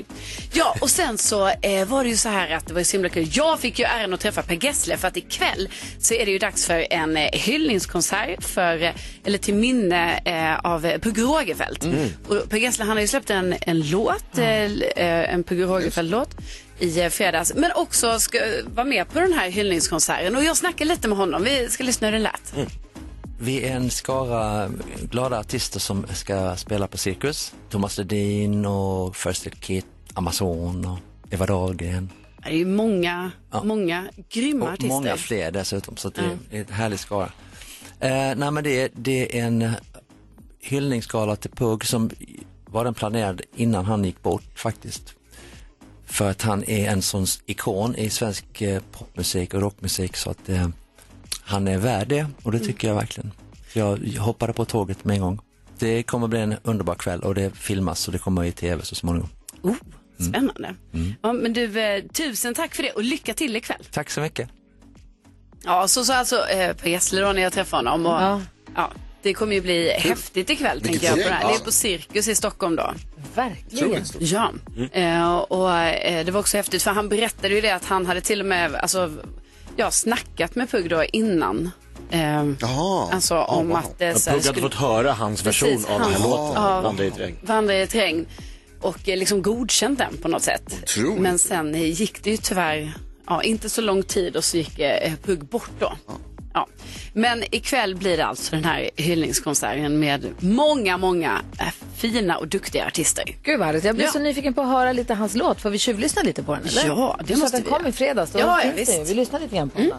[SPEAKER 5] Ja, och sen så eh, var det ju så här att det var ju så himla kul. Jag fick ju äran att träffa Per Gessle för att ikväll så är det ju dags för en eh, hyllningskonsert för, eh, eller till minne eh, av eh, Pugh Rogefeldt.
[SPEAKER 9] Mm.
[SPEAKER 5] Och Per Gessle han har ju släppt en, en låt, eh, eh, en Pugh Rogefeldt-låt i eh, fredags. Men också ska eh, vara med på den här hyllningskonserten. Och jag snackade lite med honom. Vi ska lyssna hur det lät.
[SPEAKER 9] Mm. Vi är en skara glada artister som ska spela på Cirkus. Thomas Ledin och First Aid Kit, Amazon och Eva Dahlgren.
[SPEAKER 5] Det är ju många, många grymma
[SPEAKER 9] Och
[SPEAKER 5] artister.
[SPEAKER 9] många fler dessutom, så att det är ett härligt skara. Eh, nej, men det, är- det är en hyllningsgala till Pugh som var den planerad innan han gick bort faktiskt. För att han är en sån ikon i svensk eh, popmusik och rockmusik så att eh, han är värd det och
[SPEAKER 5] Mm.
[SPEAKER 9] det tycker jag verkligen. Så jag jag hoppade på tåget med en gång. Det kommer bli en underbar kväll och det filmas och det kommer i tv så småningom.
[SPEAKER 5] Oh,
[SPEAKER 3] Mm.
[SPEAKER 5] spännande. Ja, men du, eh, tusen tack för det och lycka till ikväll.
[SPEAKER 9] Tack så mycket.
[SPEAKER 5] Ja, så sa alltså eh, Per Gessle då när jag träffade honom. Och, ja.
[SPEAKER 1] Ja.
[SPEAKER 5] det kommer ju bli häftigt ikväll tänker jag. På
[SPEAKER 3] gäng,
[SPEAKER 5] det, här. det är
[SPEAKER 3] ja.
[SPEAKER 5] på Cirkus i Stockholm då.
[SPEAKER 1] Verkligen.
[SPEAKER 5] Ja, eh, och eh, det var också häftigt för han berättade ju det att han hade till och med alltså, ja, snackat med Pugh då innan. Eh,
[SPEAKER 3] Jaha.
[SPEAKER 5] Alltså
[SPEAKER 3] Ja,
[SPEAKER 5] om
[SPEAKER 3] wow.
[SPEAKER 5] att eh,
[SPEAKER 2] Jag
[SPEAKER 5] så här,
[SPEAKER 2] hade
[SPEAKER 5] skulle
[SPEAKER 2] fått höra hans version
[SPEAKER 5] Precis,
[SPEAKER 2] av den här
[SPEAKER 5] hans-
[SPEAKER 2] låten,
[SPEAKER 5] Ja.
[SPEAKER 2] Vandra i ett regn.
[SPEAKER 5] vandra i ett regn och eh, liksom godkänt den på något sätt.
[SPEAKER 3] Otroligt.
[SPEAKER 5] Men sen eh, gick det ju tyvärr ja, inte så lång tid och så gick eh, Pugh bort då. Ja. Men ikväll blir det alltså den här hyllningskonserten med många, många eh, fina och duktiga artister.
[SPEAKER 1] Gud vad härligt. Jag blir
[SPEAKER 5] Ja.
[SPEAKER 1] så nyfiken på att höra lite hans låt. Får vi tjuvlyssna lite på den? Eller?
[SPEAKER 5] Ja, det
[SPEAKER 1] Så
[SPEAKER 5] måste
[SPEAKER 1] den
[SPEAKER 5] vi
[SPEAKER 1] kom
[SPEAKER 5] göra.
[SPEAKER 1] i fredags. Då
[SPEAKER 5] Ja,
[SPEAKER 1] ja, finns
[SPEAKER 5] visst. Mm.
[SPEAKER 1] det. ju. Vi lyssnar lite grann på den.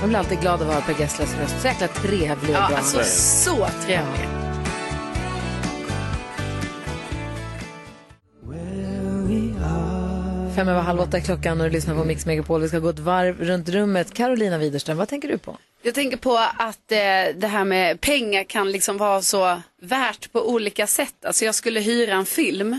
[SPEAKER 1] Jag blir alltid glad av att höra Per Gessles röst. Så jäkla trevlig och
[SPEAKER 5] Ja,
[SPEAKER 1] bra.
[SPEAKER 5] alltså så trevlig.
[SPEAKER 1] Fem över halv åtta är klockan och du lyssnar på Mix Megapol. Vi ska gå ett varv runt rummet. Carolina Widerström, vad tänker du på?
[SPEAKER 5] Jag tänker på att eh, det här med pengar kan liksom vara så värt på olika sätt. Alltså jag skulle hyra en film,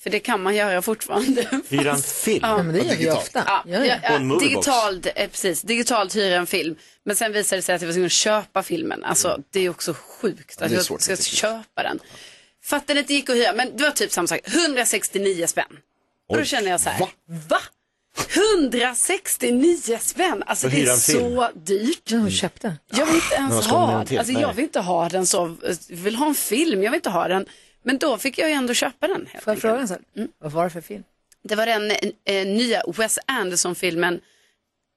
[SPEAKER 5] för det kan man göra fortfarande.
[SPEAKER 2] Hyra en film?
[SPEAKER 1] Ja, men det gör vi ju ofta.
[SPEAKER 5] Ja, ja, ja,
[SPEAKER 2] På en moviebox.
[SPEAKER 5] digitalt, eh, precis, digitalt hyra en film. Men sen visade det sig att jag var tvungen att köpa filmen.
[SPEAKER 2] Mm.
[SPEAKER 5] Alltså det är också sjukt att
[SPEAKER 3] det är
[SPEAKER 5] jag
[SPEAKER 3] svårt,
[SPEAKER 5] ska
[SPEAKER 3] det är svårt.
[SPEAKER 5] köpa den. För att den inte gick att hyra, men det var typ samma sak. 169 spänn. Och då känner jag så här, va? 169 spänn, alltså
[SPEAKER 2] Och
[SPEAKER 5] det
[SPEAKER 2] hyra
[SPEAKER 5] är
[SPEAKER 2] en film.
[SPEAKER 5] så dyrt.
[SPEAKER 1] Ja, Hon köpte.
[SPEAKER 5] Jag vill inte
[SPEAKER 2] vad
[SPEAKER 5] ens
[SPEAKER 2] ska man
[SPEAKER 5] ha
[SPEAKER 2] med den
[SPEAKER 5] den.
[SPEAKER 2] till?
[SPEAKER 5] Alltså,
[SPEAKER 2] Nej.
[SPEAKER 5] jag vill inte ha den så. Jag vill ha en film, jag vill inte ha den. Men då fick jag ju ändå köpa den. helt
[SPEAKER 1] Får jag
[SPEAKER 5] enkelt.
[SPEAKER 1] fråga en sak?
[SPEAKER 5] Mm.
[SPEAKER 1] Vad var det för film?
[SPEAKER 5] Det var den eh, nya Wes Anderson-filmen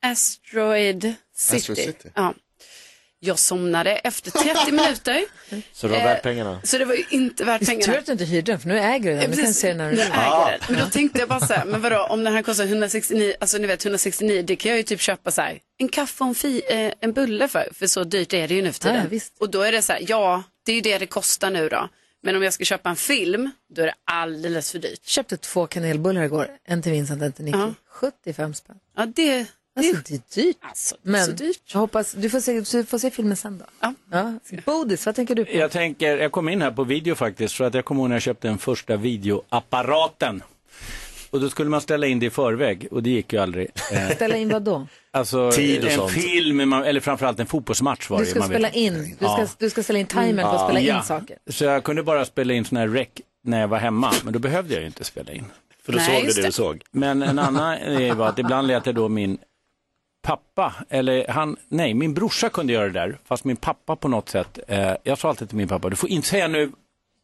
[SPEAKER 5] Asteroid City.
[SPEAKER 3] Asteroid City.
[SPEAKER 5] Ja. Jag somnade efter 30 minuter, Eh,
[SPEAKER 2] Så det var värt pengarna?
[SPEAKER 5] så det var ju inte värt
[SPEAKER 1] Tur
[SPEAKER 5] pengarna.
[SPEAKER 1] att du inte hyrde den, för nu äger du den. Du kan
[SPEAKER 5] Precis.
[SPEAKER 1] se den när du
[SPEAKER 5] Nu
[SPEAKER 1] vill.
[SPEAKER 5] äger jag den. Men då tänkte jag bara så här, men vadå, om den här kostar 169, alltså ni vet 169, det kan jag ju typ köpa så här, en kaffe och en, fi, eh, en bulle för, för så dyrt är det ju nu för tiden.
[SPEAKER 1] Ja, visst.
[SPEAKER 5] och då är det så här, ja, det är ju det det kostar nu då. Men om jag ska köpa en film, då är det alldeles för dyrt.
[SPEAKER 1] Köpte två kanelbullar igår. En till Vincent, en till Nicky.
[SPEAKER 5] Ja.
[SPEAKER 1] 75 spänn.
[SPEAKER 5] Ja, det, det
[SPEAKER 1] Alltså
[SPEAKER 5] är
[SPEAKER 1] det är dyrt.
[SPEAKER 5] alltså, det är så
[SPEAKER 1] Men
[SPEAKER 5] dyrt.
[SPEAKER 1] jag hoppas, du får, se, du får se filmen sen då.
[SPEAKER 5] Ja.
[SPEAKER 1] Bodis, vad tänker du på?
[SPEAKER 10] Jag tänker, jag kom in här på video faktiskt, för att jag kommer ihåg när jag köpte den första videoapparaten. Och då skulle man ställa in det i förväg och det gick ju aldrig. Eh,
[SPEAKER 1] Ställa in vad då?
[SPEAKER 10] alltså
[SPEAKER 2] Tid och
[SPEAKER 10] en
[SPEAKER 2] sånt.
[SPEAKER 10] film, man- eller framförallt en fotbollsmatch var
[SPEAKER 1] Du
[SPEAKER 10] det
[SPEAKER 1] ska
[SPEAKER 10] man ville.
[SPEAKER 1] spela in, du ska,
[SPEAKER 10] Ja.
[SPEAKER 1] du ska ställa in timern för att spela in saker.
[SPEAKER 10] Så jag kunde bara spela in sån här rec när jag var hemma, men då behövde jag ju inte spela in.
[SPEAKER 2] För då
[SPEAKER 5] Nej,
[SPEAKER 2] såg du
[SPEAKER 5] just
[SPEAKER 2] det
[SPEAKER 5] det.
[SPEAKER 2] du såg.
[SPEAKER 10] Men en annan grej var att ibland lät jag då min pappa, eller han, nej, min brorsa kunde göra det där, fast min pappa på något sätt, eh, jag sa alltid till min pappa, du får inte säga nu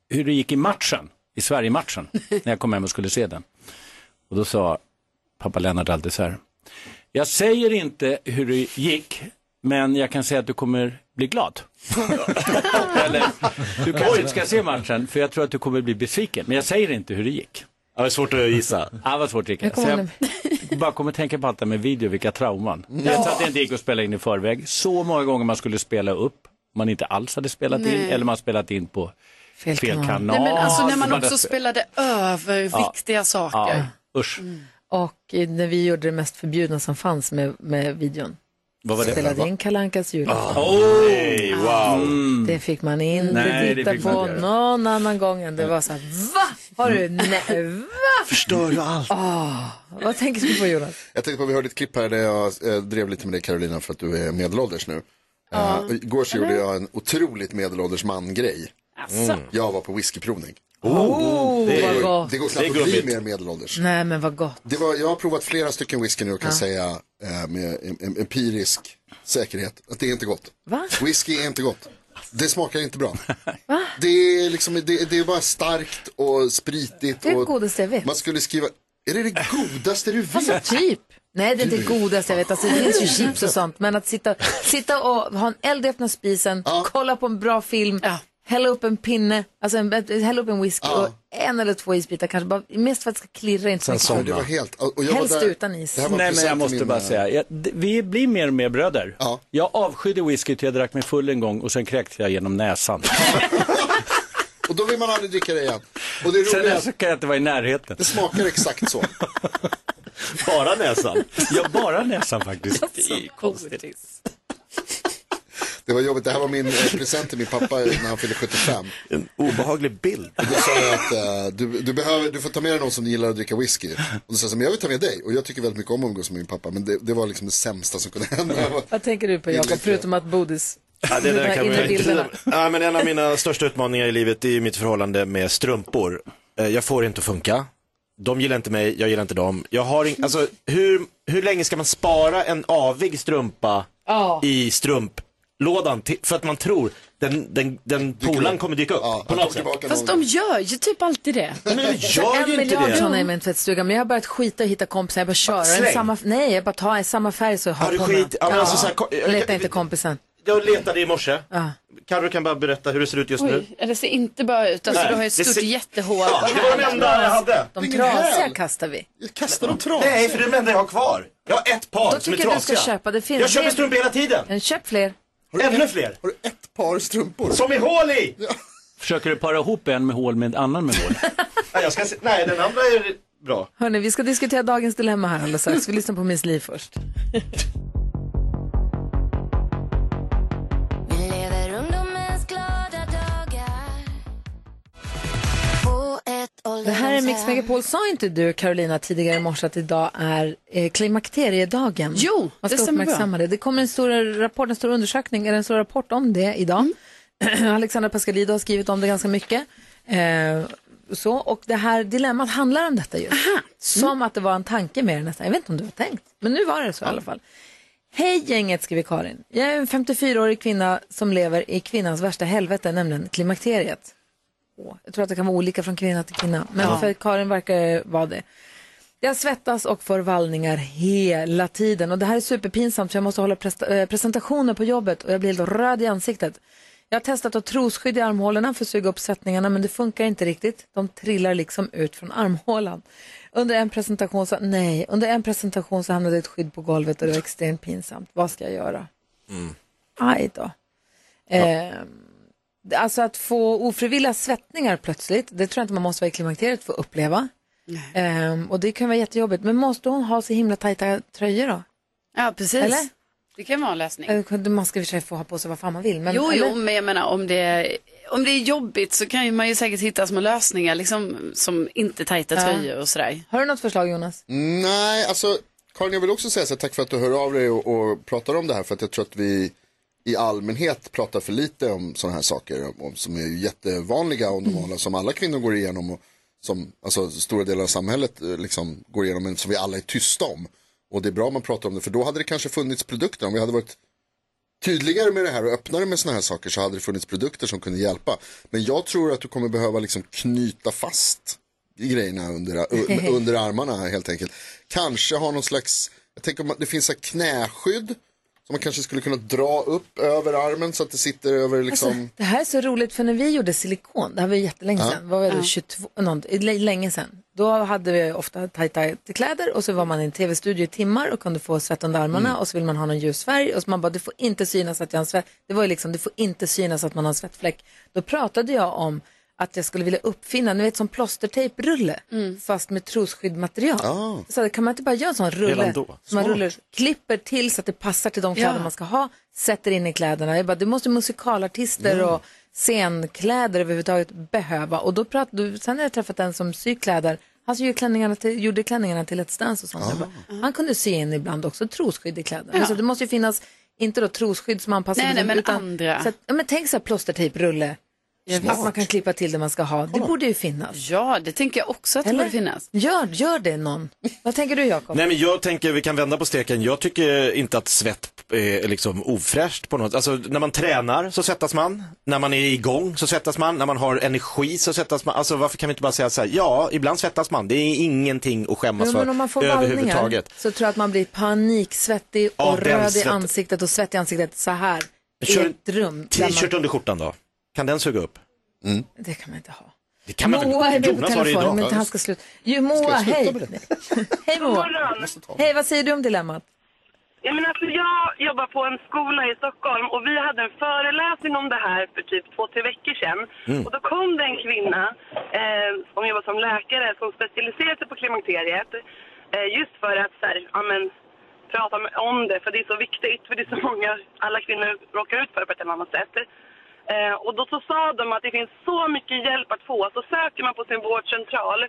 [SPEAKER 10] hur det gick i matchen, i Sverige-matchen, när jag kom hem och skulle se den. Och då sa pappa Lennart alltid så här, jag säger inte hur det gick, men jag kan säga att du kommer bli glad. eller, du kanske inte ska se matchen, för jag tror att du kommer bli besviken, men jag säger inte hur det gick.
[SPEAKER 2] Ja, det är svårt att gissa.
[SPEAKER 10] Ja, vad svårt Rickard. Så jag bara kommer tänka på allt det här med video, vilka trauman. Dels att det inte gick att spela in i förväg, så många gånger man skulle spela upp, man inte alls hade spelat in, eller man spelat in på fel, kanal.
[SPEAKER 5] Nej, men alltså när man
[SPEAKER 10] Man
[SPEAKER 5] också
[SPEAKER 10] hade-
[SPEAKER 5] spelade över viktiga saker.
[SPEAKER 10] Ja, usch.
[SPEAKER 5] Mm.
[SPEAKER 1] Och eh, när vi gjorde det mest förbjudna som fanns med, med videon.
[SPEAKER 10] Vad var det?
[SPEAKER 1] Spelade in Kalankas jul. Mm.
[SPEAKER 2] Hey, wow.
[SPEAKER 1] Det fick man inte
[SPEAKER 10] Nej, det
[SPEAKER 1] titta
[SPEAKER 10] fick man
[SPEAKER 1] på
[SPEAKER 10] inte göra.
[SPEAKER 1] någon annan gång än det var så här, va? Har du, nej, va?
[SPEAKER 2] Förstör du allt?
[SPEAKER 1] Vad tänker du på Jonas?
[SPEAKER 3] Jag tänkte på, vi hörde ett klipp här där jag eh, drev lite med dig Carolina för att du är medelålders nu. Eh, och igår så gjorde jag en otroligt medelålders man-grej.
[SPEAKER 5] Alltså,
[SPEAKER 3] Jag var på whiskyprovning.
[SPEAKER 1] Oh, vad gott.
[SPEAKER 3] Det går knappt att bli mer medelålders.
[SPEAKER 1] Nej, men vad gott.
[SPEAKER 3] Det var, jag har provat flera stycken whisky nu och kan säga eh, med em- em- empirisk säkerhet att det är inte gott.
[SPEAKER 1] Va?
[SPEAKER 3] Whisky är inte gott. Det smakar inte bra. Det är, liksom, det, det är bara starkt och spritigt.
[SPEAKER 1] Det är det
[SPEAKER 3] och
[SPEAKER 1] godaste jag vet.
[SPEAKER 3] Man skulle skriva, är det det godaste du vet?
[SPEAKER 1] Alltså typ. Nej, det är inte det godaste jag vet. Alltså, det finns ju chips och sånt. Men att sitta, sitta och ha en eld i öppna spisen, kolla på en bra film, hälla upp en pinne, alltså en, hälla upp en whisky och en eller två isbitar kanske. Bara, mest för att det ska klirra inte så mycket.
[SPEAKER 3] Men det var helt, och jag
[SPEAKER 1] Helst
[SPEAKER 3] var där,
[SPEAKER 1] utan is.
[SPEAKER 3] Det här var
[SPEAKER 10] Nej, men
[SPEAKER 3] present
[SPEAKER 10] jag
[SPEAKER 3] till
[SPEAKER 10] måste
[SPEAKER 3] min,
[SPEAKER 10] bara
[SPEAKER 3] eh,
[SPEAKER 10] säga, jag, d- vi blir mer och mer bröder.
[SPEAKER 3] Ja.
[SPEAKER 10] Jag avskydde whisky till jag drack mig full en gång och sen kräktes jag genom näsan.
[SPEAKER 3] eh, Och då vill man aldrig dricka det igen. Och det roliga
[SPEAKER 10] sen
[SPEAKER 3] är
[SPEAKER 10] alltså kan jag inte vara i närheten.
[SPEAKER 3] det smakar exakt så.
[SPEAKER 2] Bara näsan.
[SPEAKER 10] Jag bara näsan faktiskt.
[SPEAKER 1] Alltså,
[SPEAKER 10] Det är konstigt.
[SPEAKER 3] Det var jobbigt, det här var min eh, present till min pappa när han fyllde 75.
[SPEAKER 2] En obehaglig bild.
[SPEAKER 3] Då sa jag att eh, du, du, behöver, du får ta med dig någon som gillar att dricka whisky. Och då sa jag så här, men jag vill ta med dig. Och jag tycker väldigt mycket om att umgås med min pappa, men det, det var liksom det sämsta som kunde hända.
[SPEAKER 1] Vad tänker du på Jakob, förutom att Bodis?
[SPEAKER 2] Ja, det där kan
[SPEAKER 1] inre
[SPEAKER 2] man ju
[SPEAKER 1] bilderna.
[SPEAKER 2] inte... ja, men en av mina största utmaningar i livet är ju mitt förhållande med strumpor. Eh, Jag får det inte att funka. De gillar inte mig, jag gillar inte dem. Jag har in... alltså, hur, hur länge ska man spara en avig strumpa i strumplådan till... för att man tror den, den, den polaren kommer dyka upp
[SPEAKER 3] Ja,
[SPEAKER 2] på
[SPEAKER 3] jag tar
[SPEAKER 2] något sätt?
[SPEAKER 3] tillbaka
[SPEAKER 5] fast
[SPEAKER 3] någon.
[SPEAKER 5] de gör ju typ alltid det.
[SPEAKER 2] Men jag gör
[SPEAKER 1] en
[SPEAKER 2] ju inte
[SPEAKER 1] miljard
[SPEAKER 2] det.
[SPEAKER 1] sådana i min tvättstuga, men jag har börjat skita och hitta kompisar. Jag bara kör.
[SPEAKER 2] Släng.
[SPEAKER 1] En samma, nej, jag bara tar en samma färg så jag har
[SPEAKER 2] Ja, du
[SPEAKER 1] på mig.
[SPEAKER 2] skit- ja, men alltså så här, ko- jag-
[SPEAKER 1] Leta inte kompisen.
[SPEAKER 2] Jag letade i morse. Carro kan bara berätta hur det ser ut just nu.
[SPEAKER 5] Oj, det ser inte bra ut. Alltså,
[SPEAKER 2] Nej,
[SPEAKER 5] du har ju ett
[SPEAKER 2] det
[SPEAKER 5] stort
[SPEAKER 2] ser-
[SPEAKER 5] jättehål.
[SPEAKER 2] Ja, det var den enda jag hade.
[SPEAKER 1] De
[SPEAKER 3] Vilken häl.
[SPEAKER 1] trasiga kastar vi.
[SPEAKER 3] Jag kastar dem tras.
[SPEAKER 2] Nej, för det är de enda jag har kvar. Jag har ett par
[SPEAKER 1] Då
[SPEAKER 2] som är
[SPEAKER 1] tycker jag du ska
[SPEAKER 2] trasiga.
[SPEAKER 1] köpa. Det finns
[SPEAKER 2] Jag köper
[SPEAKER 1] det-
[SPEAKER 2] strumpor hela tiden.
[SPEAKER 1] Men Köp fler.
[SPEAKER 2] Ännu fler.
[SPEAKER 3] Har du ett par strumpor?
[SPEAKER 2] Som är hål i!
[SPEAKER 10] Försöker du para ihop en med hål med en annan med hål?
[SPEAKER 2] Nej, jag ska se... Nej den andra är... Bra.
[SPEAKER 1] Hörni, vi ska diskutera dagens dilemma här alldeles strax. Vi lyssnar på Miss Li först.
[SPEAKER 11] Lever ungdomens glada dagar på ett
[SPEAKER 1] Det här är Mix Megapol. Sa inte du, Carolina, tidigare i morse att idag är eh, klimakteriedagen?
[SPEAKER 5] Jo,
[SPEAKER 1] Man
[SPEAKER 5] det
[SPEAKER 1] ska
[SPEAKER 5] stämmer
[SPEAKER 1] uppmärksamma det. Det kommer en stor rapport, en stor undersökning, eller en stor rapport om det idag.
[SPEAKER 5] Mm.
[SPEAKER 1] Alexandra Pascalido har skrivit om det ganska mycket. Eh, så, och det här dilemmat handlar om detta ju.
[SPEAKER 5] Mm.
[SPEAKER 1] Som att det var en tanke med det nästan. Jag vet inte om du har tänkt, men nu var det så i alla fall. Hej gänget, skriver Karin. Jag är en 54-årig kvinna som lever i kvinnans värsta helvete, nämligen klimakteriet. Åh, Jag tror att det kan vara olika från kvinna till kvinna, men
[SPEAKER 5] Ja.
[SPEAKER 1] för Karin verkar vara det. Jag svettas och får vallningar hela tiden och det här är superpinsamt för jag måste hålla presta- eh, presentationer på jobbet och jag blir helt röd i ansiktet. Jag har testat att ha trosskydd i armhålorna för att suga upp svettningarna men det funkar inte riktigt. De trillar liksom ut från armhålan. Under en presentation så, nej, under en presentation så hamnade ett skydd på golvet och det var extremt pinsamt. Vad ska jag göra? Aj då. Eh, alltså att få ofrivilliga svettningar plötsligt, det tror jag inte man måste vara i klimakteriet för att uppleva. Ehm, och det kan vara jättejobbigt. Men måste hon ha så himla tajta tröjor då?
[SPEAKER 5] Ja, precis.
[SPEAKER 1] Eller?
[SPEAKER 5] Det kan vara en lösning.
[SPEAKER 1] Eller, Man ska i och för sig få ha på sig vad fan man vill. Men,
[SPEAKER 5] jo,
[SPEAKER 1] eller?
[SPEAKER 5] jo, men jag menar om det, om det är jobbigt så kan ju man ju säkert hitta små lösningar liksom, som inte tajta
[SPEAKER 1] Ja.
[SPEAKER 5] tröjor och sådär.
[SPEAKER 1] Har du något förslag Jonas?
[SPEAKER 3] Nej, alltså Karin, jag vill också säga så här, tack för att du hör av dig och, och pratar om det här för att jag tror att vi i allmänhet pratar för lite om sådana här saker om, om, som är ju jättevanliga och normala som alla kvinnor går igenom och som alltså, stora delar av samhället eh, liksom, går igenom men som vi alla är tysta om. Och det är bra om man pratar om det för då hade det kanske funnits produkter om vi hade varit tydligare med det här och öppnare med sådana här saker så hade det funnits produkter som kunde hjälpa. Men jag tror att du kommer behöva liksom knyta fast i grejerna under, u- under armarna helt enkelt. Kanske ha någon slags, jag tänker om att det finns så här knäskydd som man kanske skulle kunna dra upp över armen så att det sitter över liksom.
[SPEAKER 1] Alltså, det här är så roligt för när vi gjorde silikon, det här var ju jättelänge
[SPEAKER 3] Ja.
[SPEAKER 1] sedan, vad var det, 22, någon, länge sedan. Då hade vi ofta tajta kläder och så var man i en tv-studio i timmar och kunde få svett under armarna
[SPEAKER 2] Mm.
[SPEAKER 1] och så vill man ha någon ljus färg och så man bara, det får inte synas att jag har en svett, det var ju liksom, det får inte synas att man har en svettfläck. Då pratade jag om att jag skulle vilja uppfinna, ni vet som plåstertejprulle, fast med trosskyddmaterial.
[SPEAKER 3] Ah.
[SPEAKER 1] Så kan man inte bara göra en sån rulle?
[SPEAKER 2] Redan då?
[SPEAKER 1] som man
[SPEAKER 2] Smart.
[SPEAKER 1] rullar, klipper till så att det passar till de kläder
[SPEAKER 5] Ja.
[SPEAKER 1] man ska ha, sätter in i kläderna. Jag bara, det måste musikalartister och scenkläder överhuvudtaget behöva. Och då prat, då, sen har jag träffat en som syr kläder, han syr ju klänningarna till, gjorde klänningarna till Let's Dance och sånt.
[SPEAKER 5] Ah.
[SPEAKER 1] Jag Bara, han kunde sy in ibland också trosskydd i kläderna. Så det måste ju finnas, inte då trosskydd som anpassar
[SPEAKER 5] Nej,
[SPEAKER 1] till
[SPEAKER 5] nej,
[SPEAKER 1] dem,
[SPEAKER 5] men andra.
[SPEAKER 1] Så att, ja, men tänk så här plåstertejprulle, att man kan klippa till det man ska ha. Det borde ju finnas.
[SPEAKER 5] Ja, det tänker jag också att det borde finnas.
[SPEAKER 1] Gör, gör det någon. Vad tänker du Jakob?
[SPEAKER 2] Nej men jag tänker, vi kan vända på steken. Jag tycker inte att svett är liksom ofräscht på något Alltså när man tränar så svettas man. När man är igång så svettas man. När man har energi så svettas man. Alltså varför kan vi inte bara säga så här, ja ibland svettas man. Det är ingenting att skämmas
[SPEAKER 1] Jo,
[SPEAKER 2] för
[SPEAKER 1] men om man får vallningar
[SPEAKER 2] Alltså, överhuvudtaget.
[SPEAKER 1] så tror jag att man blir paniksvettig och
[SPEAKER 2] Ja, den
[SPEAKER 1] röd i
[SPEAKER 2] svetten.
[SPEAKER 1] ansiktet och svettig i ansiktet så här
[SPEAKER 2] Kör
[SPEAKER 1] i ett rum. där
[SPEAKER 2] T-shirt under skjortan då? Kan den suga upp?
[SPEAKER 1] Man, det kan man inte ha.
[SPEAKER 2] Det kan man
[SPEAKER 1] Moa är
[SPEAKER 2] väl?
[SPEAKER 1] med på
[SPEAKER 2] Jonas har det
[SPEAKER 1] telefon,
[SPEAKER 2] idag.
[SPEAKER 1] men inte han ska sluta. Jo, Moa,
[SPEAKER 3] jag sluta
[SPEAKER 1] hej.
[SPEAKER 3] med
[SPEAKER 1] hej Moa. Hej, vad säger du om dilemmat?
[SPEAKER 8] Ja, men alltså, jag jobbar på en skola i Stockholm och vi hade en föreläsning om det här för typ två, tre veckor sedan. Och då kom det en kvinna eh, som jobbar som läkare som specialiserade sig på klimakteriet eh, just för att så här, ja, men, prata med- om det för det är så viktigt för det är så många, alla kvinnor råkar ut för det på ett eller annat sätt. Eh, och då så sa de att det finns så mycket hjälp att få. Så söker man på sin vårdcentral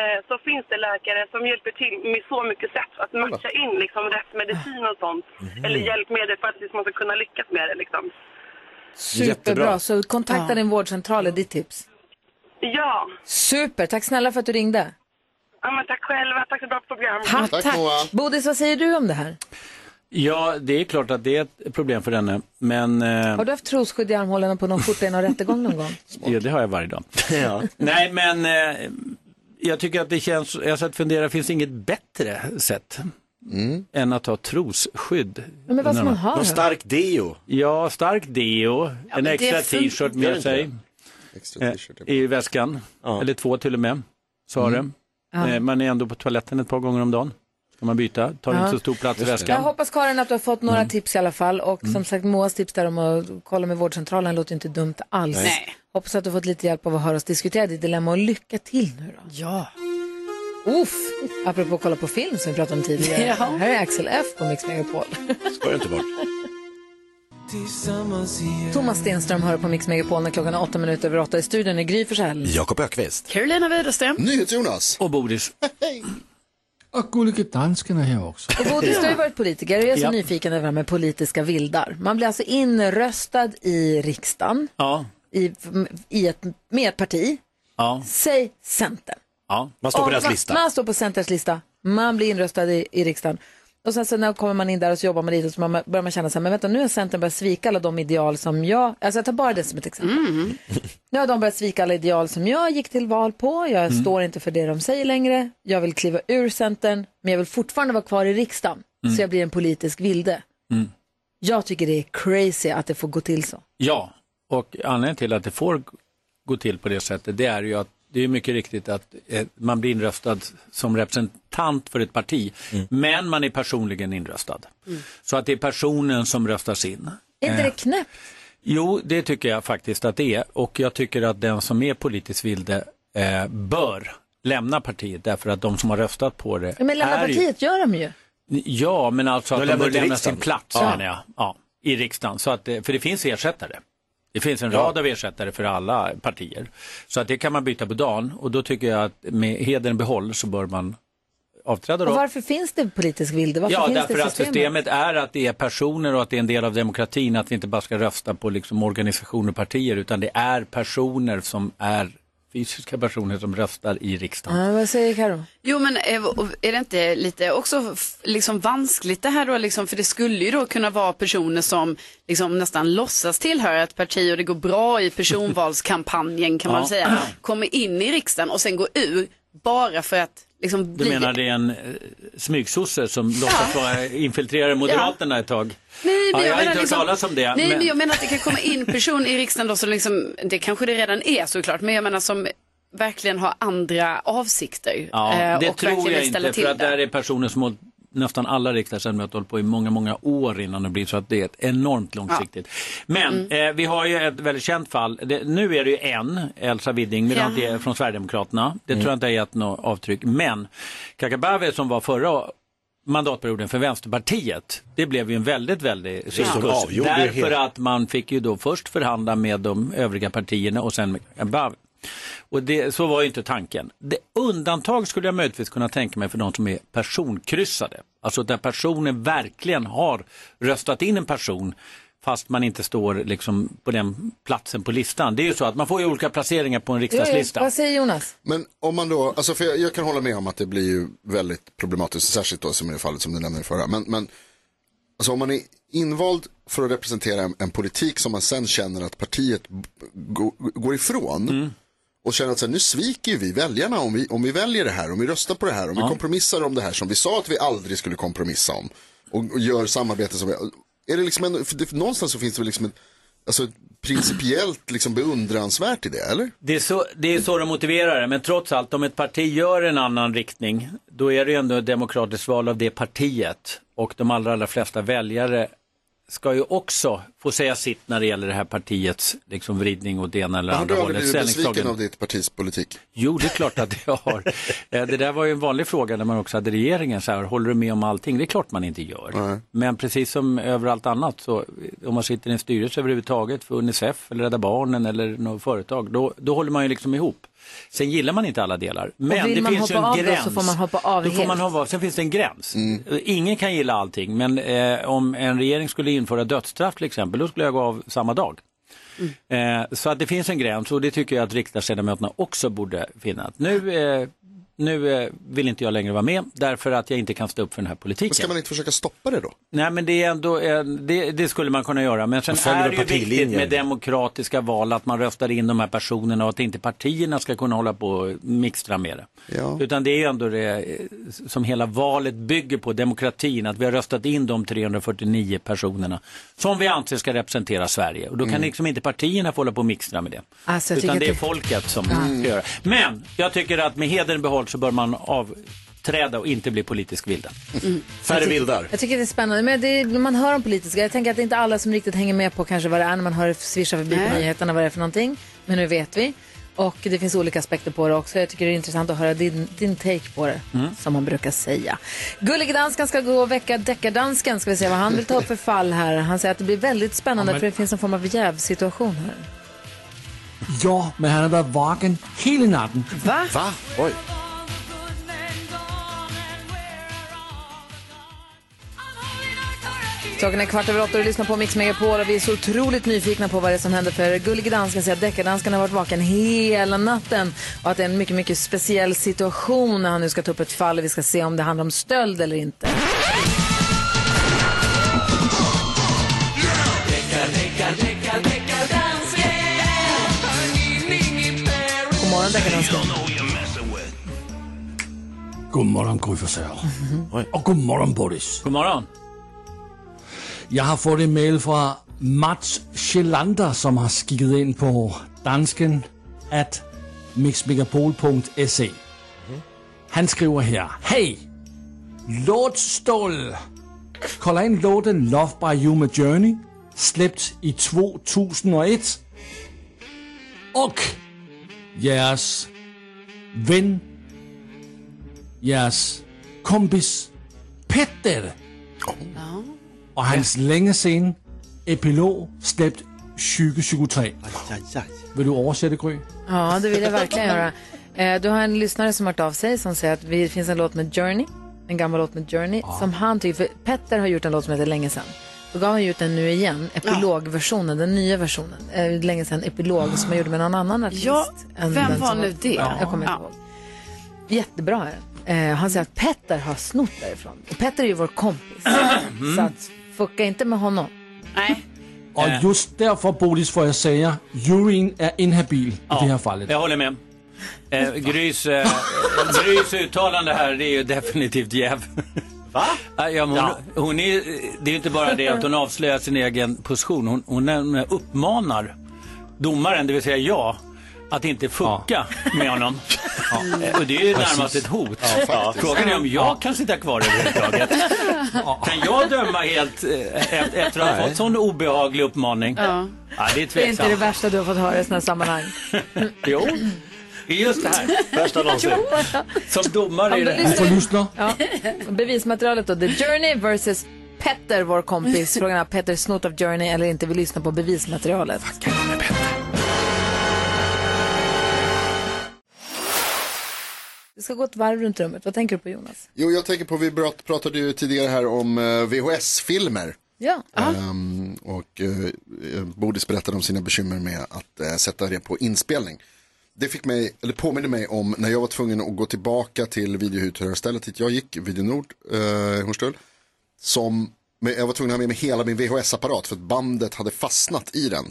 [SPEAKER 8] eh, så finns det läkare som hjälper till med så mycket sätt att matcha in liksom, rätt medicin och sånt. Eller hjälpmedel för att liksom, man ska kunna lyckas med det. Liksom.
[SPEAKER 1] Superbra, så kontakta din vårdcentral är ditt tips.
[SPEAKER 8] Ja.
[SPEAKER 1] Super, tack snälla för att du ringde.
[SPEAKER 8] ja, men tack själva. Tack för ett bra program.
[SPEAKER 1] Tack,
[SPEAKER 3] Tack, Moa.
[SPEAKER 1] Bodis, vad säger du om det här?
[SPEAKER 10] Ja, det är klart att det är ett problem för henne, men eh,
[SPEAKER 1] Har du haft trosskydd i armhålorna på någon skjorta i någon rättegång någon gång?
[SPEAKER 10] ja, det har jag varje dag. Nej, men eh, jag tycker att det känns, jag satt och funderade, finns det inget bättre sätt än att ha trosskydd?
[SPEAKER 1] Ja, men vad ska man
[SPEAKER 2] Någon
[SPEAKER 1] ha då?
[SPEAKER 2] stark deo.
[SPEAKER 10] Ja, stark deo, en
[SPEAKER 5] det
[SPEAKER 10] extra
[SPEAKER 5] fun-
[SPEAKER 10] t-shirt
[SPEAKER 2] Gör
[SPEAKER 10] med
[SPEAKER 2] inte
[SPEAKER 10] sig
[SPEAKER 3] Extra t-shirt.
[SPEAKER 10] eh, i väskan,
[SPEAKER 2] Ja.
[SPEAKER 10] eller två till och med, sa det. Eh, Man är ändå på toaletten ett par gånger om dagen. Ska man byta, tar inte så stor plats i
[SPEAKER 1] Jag
[SPEAKER 10] väskan. Mm.
[SPEAKER 1] hoppas Karin att du har fått några tips i alla fall och som sagt Moas tips där om att kolla med vårdcentralen låter ju inte dumt alls.
[SPEAKER 5] Nej.
[SPEAKER 1] Hoppas att du har fått lite hjälp av att höra oss diskutera ditt dilemma och lycka till nu då.
[SPEAKER 5] Ja.
[SPEAKER 1] Uff, apropå att kolla på film som vi pratade om tidigare.
[SPEAKER 5] Ja.
[SPEAKER 1] Här är Axel F på Mix Megapol.
[SPEAKER 2] Skoja inte bort.
[SPEAKER 1] Thomas Stenström hör på Mix Megapol när klockan är åtta minuter över åtta. I studion är Gry Forssell.
[SPEAKER 2] Jakob Ökvist.
[SPEAKER 5] Carolina Widerström.
[SPEAKER 3] NyhetsJonas.
[SPEAKER 10] Och Bodis.
[SPEAKER 4] Och gullige dansken är här också.
[SPEAKER 1] Och Bodis, du har ju varit politiker och jag är så
[SPEAKER 4] Ja.
[SPEAKER 1] nyfiken över det här med politiska vildar. Man blir alltså inröstad i riksdagen
[SPEAKER 10] Ja.
[SPEAKER 1] i, i ett, med ett parti.
[SPEAKER 10] Ja.
[SPEAKER 1] Säg Centern.
[SPEAKER 10] ja.
[SPEAKER 1] Om man, Man står på Centerns lista. Man blir inröstad i, i riksdagen. Och sen så när kommer man in där och så jobbar man lite och så man, börjar man känna så här, men vänta nu har Centern börjat svika alla de ideal som jag, alltså jag tar bara det som ett exempel. Nu har de börjat svika alla ideal som jag gick till val på, jag
[SPEAKER 5] Mm.
[SPEAKER 1] står inte för det de säger längre, jag vill kliva ur Centern, men jag vill fortfarande vara kvar i riksdagen,
[SPEAKER 10] Mm.
[SPEAKER 1] så jag blir en politisk vilde.
[SPEAKER 10] Mm.
[SPEAKER 1] Jag tycker det är crazy att det får gå till så.
[SPEAKER 10] Ja, och anledningen till att det får g- gå till på det sättet det är ju att det är mycket riktigt att eh, man blir inröstad som representant för ett parti, men man är personligen inröstad. Så att det är personen som röstas in.
[SPEAKER 1] Är inte
[SPEAKER 10] Eh,
[SPEAKER 1] det knäppt?
[SPEAKER 10] Jo, det tycker jag faktiskt att det är. Och jag tycker att den som är politiskt vilde eh, bör lämna partiet därför att de som har röstat på det
[SPEAKER 1] Men lämna
[SPEAKER 10] är ju-
[SPEAKER 1] partiet gör de ju.
[SPEAKER 10] Ja, men alltså
[SPEAKER 2] De
[SPEAKER 10] att de
[SPEAKER 2] lämnar
[SPEAKER 10] bör
[SPEAKER 2] till
[SPEAKER 10] lämna
[SPEAKER 2] riksdagen.
[SPEAKER 10] sin plats
[SPEAKER 2] Ja.
[SPEAKER 10] menar jag. Ja, i riksdagen. Så att, det- för det finns ersättare. Det finns en rad av ersättare för alla partier. Så att det kan man byta på dagen och då tycker jag att med hedern behåll så bör man avträda då.
[SPEAKER 1] Och varför finns det politisk vilde? Varför
[SPEAKER 10] Ja,
[SPEAKER 1] finns
[SPEAKER 10] därför
[SPEAKER 1] det
[SPEAKER 10] att systemet är att det är personer och att det är en del av demokratin att vi inte bara ska rösta på liksom organisationer och partier utan det är personer som är fysiska personer som röstar i riksdagen.
[SPEAKER 1] Ja, vad säger Karo?
[SPEAKER 5] Jo men eh, och är det inte lite också f- liksom vanskligt det här då liksom, för det skulle ju då kunna vara personer som liksom nästan låtsas tillhöra ett parti och det går bra i personvalskampanjen kan man
[SPEAKER 10] Ja.
[SPEAKER 5] säga, kommer in i riksdagen och sen går ur bara för att liksom
[SPEAKER 10] Du
[SPEAKER 5] bli
[SPEAKER 10] menar det är en eh, smygsosse som låtsas vara infiltrerade Moderaterna ett tag?
[SPEAKER 5] Nej,
[SPEAKER 10] ja,
[SPEAKER 5] men
[SPEAKER 10] jag
[SPEAKER 5] jag
[SPEAKER 10] har
[SPEAKER 5] menar
[SPEAKER 10] inte
[SPEAKER 5] liksom-
[SPEAKER 10] hört talas om det.
[SPEAKER 5] Nej, men...
[SPEAKER 10] men-
[SPEAKER 5] jag menar att det kan komma in person i riksdagen då som liksom, det kanske det redan är såklart, men jag menar som verkligen har andra avsikter.
[SPEAKER 10] ja,
[SPEAKER 5] eh,
[SPEAKER 10] det
[SPEAKER 5] och verkligen
[SPEAKER 10] tror jag
[SPEAKER 5] vill ställa
[SPEAKER 10] inte,
[SPEAKER 5] till
[SPEAKER 10] för att
[SPEAKER 5] det.
[SPEAKER 10] där är personer som har- nästan alla riksdagsledamöter hållit på i många, många år innan det blir så att det är ett enormt långsiktigt. Men eh, vi har ju ett väldigt känt fall. Det, nu är det ju en, Elsa
[SPEAKER 12] Ja.
[SPEAKER 10] Widding, migrant i- från Sverigedemokraterna. Det tror jag inte har gett något avtryck. Men Kakabaveh som var förra mandatperioden för Vänsterpartiet, det blev ju en väldigt, väldigt
[SPEAKER 2] som
[SPEAKER 10] cirkus.
[SPEAKER 2] avgjorde det
[SPEAKER 10] Därför
[SPEAKER 2] hela.
[SPEAKER 10] att man fick ju då först förhandla med de övriga partierna och sen med Kakabaveh. Och det, så var ju inte tanken. Det, undantag skulle jag möjligtvis kunna tänka mig för de som är personkryssade. Alltså där personen verkligen har röstat in en person fast man inte står liksom på den platsen på listan. Det är ju så att man får ju olika placeringar på en riksdagslista.
[SPEAKER 1] Vad säger Jonas?
[SPEAKER 3] Men om man då, alltså för jag, jag kan hålla med om att det blir ju väldigt problematiskt, särskilt då som i det fallet som du nämnde i förra. Men, men alltså om man är invald för att representera en, en politik som man sen känner att partiet b- gå- går ifrån. Och känner att så här, nu sviker ju vi väljarna om vi, om vi väljer det här, om vi röstar på det här, om vi kompromissar om det här som vi sa att vi aldrig skulle kompromissa om. Och, och gör samarbete som vi, är det liksom en, för det, någonstans så finns det väl liksom ett, alltså ett principiellt liksom beundransvärt i det, eller?
[SPEAKER 10] Det är, så, det är så de motiverar det, men trots allt om ett parti gör en annan riktning, då är det ju ändå ett demokratiskt val av det partiet. Och de allra, allra flesta väljare ska ju också få säga sitt när det gäller det här partiets liksom, vridning åt det ena eller
[SPEAKER 3] Har du
[SPEAKER 10] andra
[SPEAKER 3] aldrig
[SPEAKER 10] hållet.
[SPEAKER 3] blivit besviken
[SPEAKER 10] Ställningstagande.
[SPEAKER 3] av ditt partis politik?
[SPEAKER 10] Jo, det är klart att jag har. Eh, Det där var ju en vanlig fråga när man också hade regeringen. Så här, håller du med om allting? Det är klart man inte gör. Men precis som överallt annat, så eh, om man sitter i en styrelse överhuvudtaget för Unicef eller Rädda Barnen eller något företag, då, då håller man ju liksom ihop. Sen gillar man inte alla delar. Men
[SPEAKER 1] och vill
[SPEAKER 10] det
[SPEAKER 1] man
[SPEAKER 10] finns ju
[SPEAKER 1] hoppa av
[SPEAKER 10] en gräns.
[SPEAKER 1] då så får man hoppa av
[SPEAKER 10] Då får
[SPEAKER 1] helt.
[SPEAKER 10] man hoppa av. Sen finns det en gräns.
[SPEAKER 3] Mm.
[SPEAKER 10] Ingen kan gilla allting, men eh, om en regering skulle införa dödsstraff till exempel, då skulle jag gå av samma dag. Eh, så att det finns en gräns och det tycker jag att riksdagsledamöterna också borde finna. Att nu eh, nu eh, vill inte jag längre vara med därför att jag inte kan stå upp för den här politiken.
[SPEAKER 3] Ska man inte försöka stoppa det då?
[SPEAKER 10] Nej men det är ändå, en, det, det skulle man kunna göra. Men sen
[SPEAKER 2] Man följer
[SPEAKER 10] är det
[SPEAKER 2] väl
[SPEAKER 10] ju viktigt
[SPEAKER 2] partilinjen.
[SPEAKER 10] med demokratiska val att man röstar in de här personerna och att inte partierna ska kunna hålla på och mixtra med det.
[SPEAKER 3] Ja.
[SPEAKER 10] Utan det är ju ändå det eh, som hela valet bygger på, demokratin, att vi har röstat in de 349 personerna som vi anser ska representera Sverige. Och då kan
[SPEAKER 1] Mm.
[SPEAKER 10] liksom inte partierna få hålla på och mixtra med det.
[SPEAKER 1] Alltså, jag
[SPEAKER 10] Utan
[SPEAKER 1] tycker
[SPEAKER 10] det är
[SPEAKER 1] att det-
[SPEAKER 10] folket som
[SPEAKER 1] Mm.
[SPEAKER 10] ska göra. Men jag tycker att med hedern i behåll så bör man avträda och inte bli politisk vilda. Färre vildar.
[SPEAKER 1] Jag tycker det är spännande. Men det är, man hör om politiska, jag tänker att det är inte alla som riktigt hänger med på kanske vad det är när man hör svischa förbi på nyheterna vad det är för någonting. Men nu vet vi. Och det finns olika aspekter på det också. Jag tycker det är intressant att höra din, din take på det,
[SPEAKER 6] Mm.
[SPEAKER 1] som man brukar säga. Gullig danskan ska gå och väcka deckardansken, ska vi se vad han vill ta upp för fall här. Han säger att det blir väldigt spännande
[SPEAKER 4] Ja, men-
[SPEAKER 1] för det finns en form av jävsituation här.
[SPEAKER 4] Ja, men han har varit vaken hela natten.
[SPEAKER 1] Va?
[SPEAKER 3] Va? Oj.
[SPEAKER 1] Klockan är kvart över åtta och du lyssnar på Mix Megapol och vi är så otroligt nyfikna på vad det är som händer för Gullige Dansken säger att deckardansken har varit vaken hela natten och att det är en mycket, mycket speciell situation när han nu ska ta upp ett fall och vi ska se om det handlar om stöld eller inte. God morgon deckardansken.
[SPEAKER 4] God morgon Gry Forssell.
[SPEAKER 10] Mm-hmm.
[SPEAKER 4] Och god morgon Boris.
[SPEAKER 10] God morgon.
[SPEAKER 4] Jag har fått en mail från Mats Kjellander som har skickat in på dansken at mixmegapol.se. E. Han skriver här. Hej! Låtstål! Kolla in låten Love by You med Journey. Släppt i 2001. Och jeres vän, jeres kompis Petter och hans länge sen epilog släppt 2023. Vill du översätta Gry?
[SPEAKER 1] Ja, det vill jag verkligen göra. Eh, Du har en lyssnare som har hört av sig som säger att vi- det finns en låt med Journey, en gammal låt med Journey, som han tycker, för Petter har gjort en låt som heter Länge sedan. Då gav han ju ut den nu igen, epilogversionen, den nya versionen, eh, länge sedan epilog som han gjorde med någon annan artist.
[SPEAKER 5] Ja,
[SPEAKER 1] än
[SPEAKER 5] vem
[SPEAKER 1] den
[SPEAKER 5] var
[SPEAKER 1] som
[SPEAKER 5] nu det?
[SPEAKER 1] Ja, jag kommer inte ihåg. Jättebra är den. Eh, Han säger att Petter har snott därifrån. Och Petter är ju vår kompis,
[SPEAKER 5] Mm.
[SPEAKER 1] så att fucka inte med honom.
[SPEAKER 4] Och just därför Boris får jag säga, juryn är inhabil i det här fallet.
[SPEAKER 10] Jag håller med. Eh, Grys, eh, Grys uttalande här, det är ju definitivt jäv. Va? Ja, men hon, hon är, det är ju inte bara det att hon avslöjar sin egen position. Hon, hon nämner- uppmanar domaren, det vill säga jag, att inte fucka med honom. Eh, Och det är ju
[SPEAKER 7] Precis.
[SPEAKER 10] närmast ett hot.
[SPEAKER 7] Ja, faktiskt.
[SPEAKER 10] Frågan är om jag kan sitta kvar överhuvudtaget. Kan jag döma helt eh, e- efter att ha
[SPEAKER 7] Nej.
[SPEAKER 10] fått sån obehaglig uppmaning?
[SPEAKER 1] Ja.
[SPEAKER 10] Ja, det är
[SPEAKER 1] Det är inte det
[SPEAKER 10] tveksamt.
[SPEAKER 1] värsta du har fått höra i sådana här sammanhang.
[SPEAKER 10] Jo, det är just det här.
[SPEAKER 1] Värsta någonsin.
[SPEAKER 10] Som domare i det
[SPEAKER 1] Du får
[SPEAKER 4] lyssna.
[SPEAKER 1] Ja. Bevismaterialet då. The Journey versus Petter, vår kompis. Frågan är har Petter snott av Journey eller inte. Vi lyssnar på bevismaterialet. Vi ska gå ett varv runt rummet. Vad tänker du på Jonas?
[SPEAKER 3] Jo, jag tänker på, vi prat- pratade ju tidigare här om eh, VHS-filmer.
[SPEAKER 1] Ja.
[SPEAKER 3] Ehm, och eh, Bodis berättade om sina bekymmer med att eh, sätta det på inspelning. Det fick mig, eller påminner mig om när jag var tvungen att gå tillbaka till videouthyrarstället dit jag gick, Video Nord eh, i Hornstull. Som, men jag var tvungen att ha med mig hela min VHS-apparat för att bandet hade fastnat i den.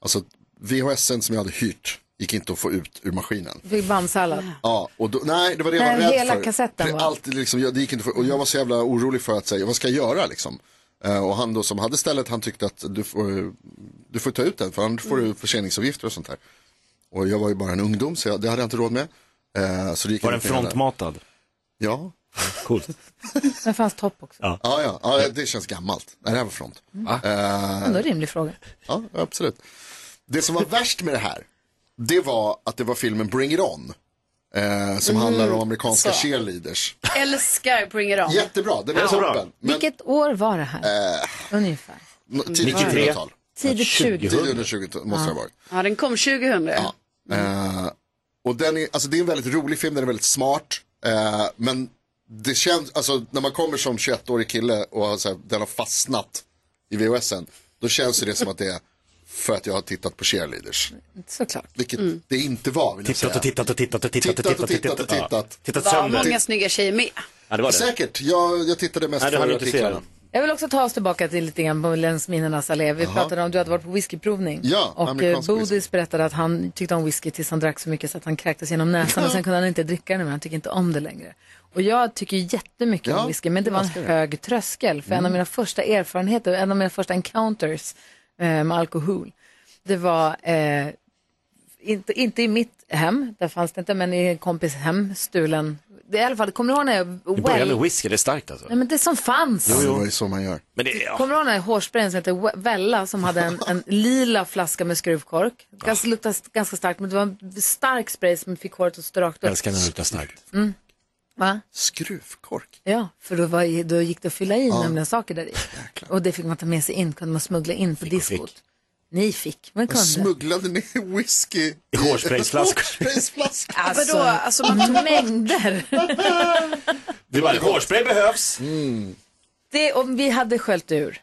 [SPEAKER 3] Alltså VHSen som jag hade hyrt gick inte att få ut ur maskinen.
[SPEAKER 1] Du fick bandsallad.
[SPEAKER 3] Ja, och då, nej, det var det jag
[SPEAKER 1] Nej,
[SPEAKER 3] var rädd
[SPEAKER 1] hela
[SPEAKER 3] för.
[SPEAKER 1] kassetten
[SPEAKER 3] För
[SPEAKER 1] var-
[SPEAKER 3] Alltid, liksom, jag, det gick inte för, och jag var så jävla orolig för att säga, vad ska jag göra liksom? Eh, och han då som hade stället, han tyckte att du får, du får ta ut den, för annars får
[SPEAKER 1] Mm.
[SPEAKER 3] du förseningsavgifter och sånt där. Och jag var ju bara en ungdom, så jag, det hade jag inte råd med. Eh, så det gick
[SPEAKER 2] Var den
[SPEAKER 3] inte heller.
[SPEAKER 2] frontmatad?
[SPEAKER 3] Ja.
[SPEAKER 2] Coolt.
[SPEAKER 1] Den fanns topp också.
[SPEAKER 3] Ja. Ja, ja, det känns gammalt. Nej, det här var front. Eh,
[SPEAKER 1] Ändå en rimlig fråga.
[SPEAKER 3] Ja, absolut. Det som var värst med det här, det var att det var filmen Bring It On. Eh, som
[SPEAKER 5] Mm,
[SPEAKER 3] handlar om amerikanska
[SPEAKER 5] så.
[SPEAKER 3] cheerleaders.
[SPEAKER 5] Älskar Bring It On.
[SPEAKER 3] Jättebra, det var så bra. Men,
[SPEAKER 1] Vilket år var det här?
[SPEAKER 3] eh,
[SPEAKER 1] Ungefär.
[SPEAKER 3] nå-
[SPEAKER 1] Mm.
[SPEAKER 3] tidigt
[SPEAKER 5] 93.
[SPEAKER 3] 2000-tal.
[SPEAKER 1] Tidigt 20.
[SPEAKER 3] Tidigt under 20 måste det ha varit.
[SPEAKER 5] Ja, den kom 2000. Ja.
[SPEAKER 3] Eh, och den är, alltså det är en väldigt rolig film, den är väldigt smart. Eh, men det känns, alltså när man kommer som 21-årig kille och har, så här, den har fastnat i VHSen. Då känns ju det som att det är för att jag har tittat på cheerleaders.
[SPEAKER 1] Såklart.
[SPEAKER 3] Vilket det inte var vill jag
[SPEAKER 2] Tittat och
[SPEAKER 3] säga.
[SPEAKER 2] tittat och tittat och tittat och
[SPEAKER 3] Tittat
[SPEAKER 2] tittat
[SPEAKER 3] och tittat och
[SPEAKER 2] Ja.
[SPEAKER 3] tittat.
[SPEAKER 2] Tittat
[SPEAKER 5] Var
[SPEAKER 2] sönder.
[SPEAKER 5] många snygga tjejer med.
[SPEAKER 2] Ja, det var det.
[SPEAKER 3] Säkert, jag, jag tittade mest
[SPEAKER 2] Nej, det har
[SPEAKER 3] för
[SPEAKER 2] du inte sett.
[SPEAKER 3] artiklarna.
[SPEAKER 1] Jag vill också ta oss tillbaka till lite grann på länsminnenas allé. Vi
[SPEAKER 3] Jaha.
[SPEAKER 1] pratade om, du hade varit på whiskyprovning.
[SPEAKER 3] Ja,
[SPEAKER 1] och eh,
[SPEAKER 3] amerikansk
[SPEAKER 1] Bodis berättade att han tyckte om whisky tills han drack så mycket så att han kräktes genom näsan och sen kunde han inte dricka den mer, han tyckte inte om det längre. Och jag tycker jättemycket
[SPEAKER 5] Ja,
[SPEAKER 1] om whisky, men det var en
[SPEAKER 5] älskar det.
[SPEAKER 1] hög tröskel. För en av
[SPEAKER 5] Mm.
[SPEAKER 1] mina första erfarenheter, en av mina första encounters eh, med alkohol, det var eh, inte, inte i mitt hem, där fanns det inte, men i en kompis hem, stulen. Det är i alla fall, kommer du ihåg när jag...
[SPEAKER 2] Du börjar med whisky, det är starkt alltså.
[SPEAKER 1] Nej men det som fanns.
[SPEAKER 3] Ja, det var ju så man gör.
[SPEAKER 2] Men det, ja.
[SPEAKER 1] Kommer du ihåg den här hårsprayen som hette We- Vella som hade en, en lila flaska med skruvkork? Ganska, luktade ganska starkt, men det var en stark spray som fick håret att stå rakt upp.
[SPEAKER 2] Älskar när det luktar starkt.
[SPEAKER 1] Mm. Va?
[SPEAKER 3] Skruvkork?
[SPEAKER 1] Ja, för då, var, i- då gick det att fylla i nämligen saker där i. Och det fick man ta med sig in, kunde man smuggla in på diskot. Ni fick, men
[SPEAKER 3] Man
[SPEAKER 1] kunde.
[SPEAKER 3] smugglade ner whisky
[SPEAKER 2] I hårsprayflaskor.
[SPEAKER 3] Hårsprayflaskor.
[SPEAKER 1] Alltså, Vadå? Alltså, man tog- mängder.
[SPEAKER 2] Det är bara, hårspray behövs.
[SPEAKER 1] Det, om vi hade sköljt ur.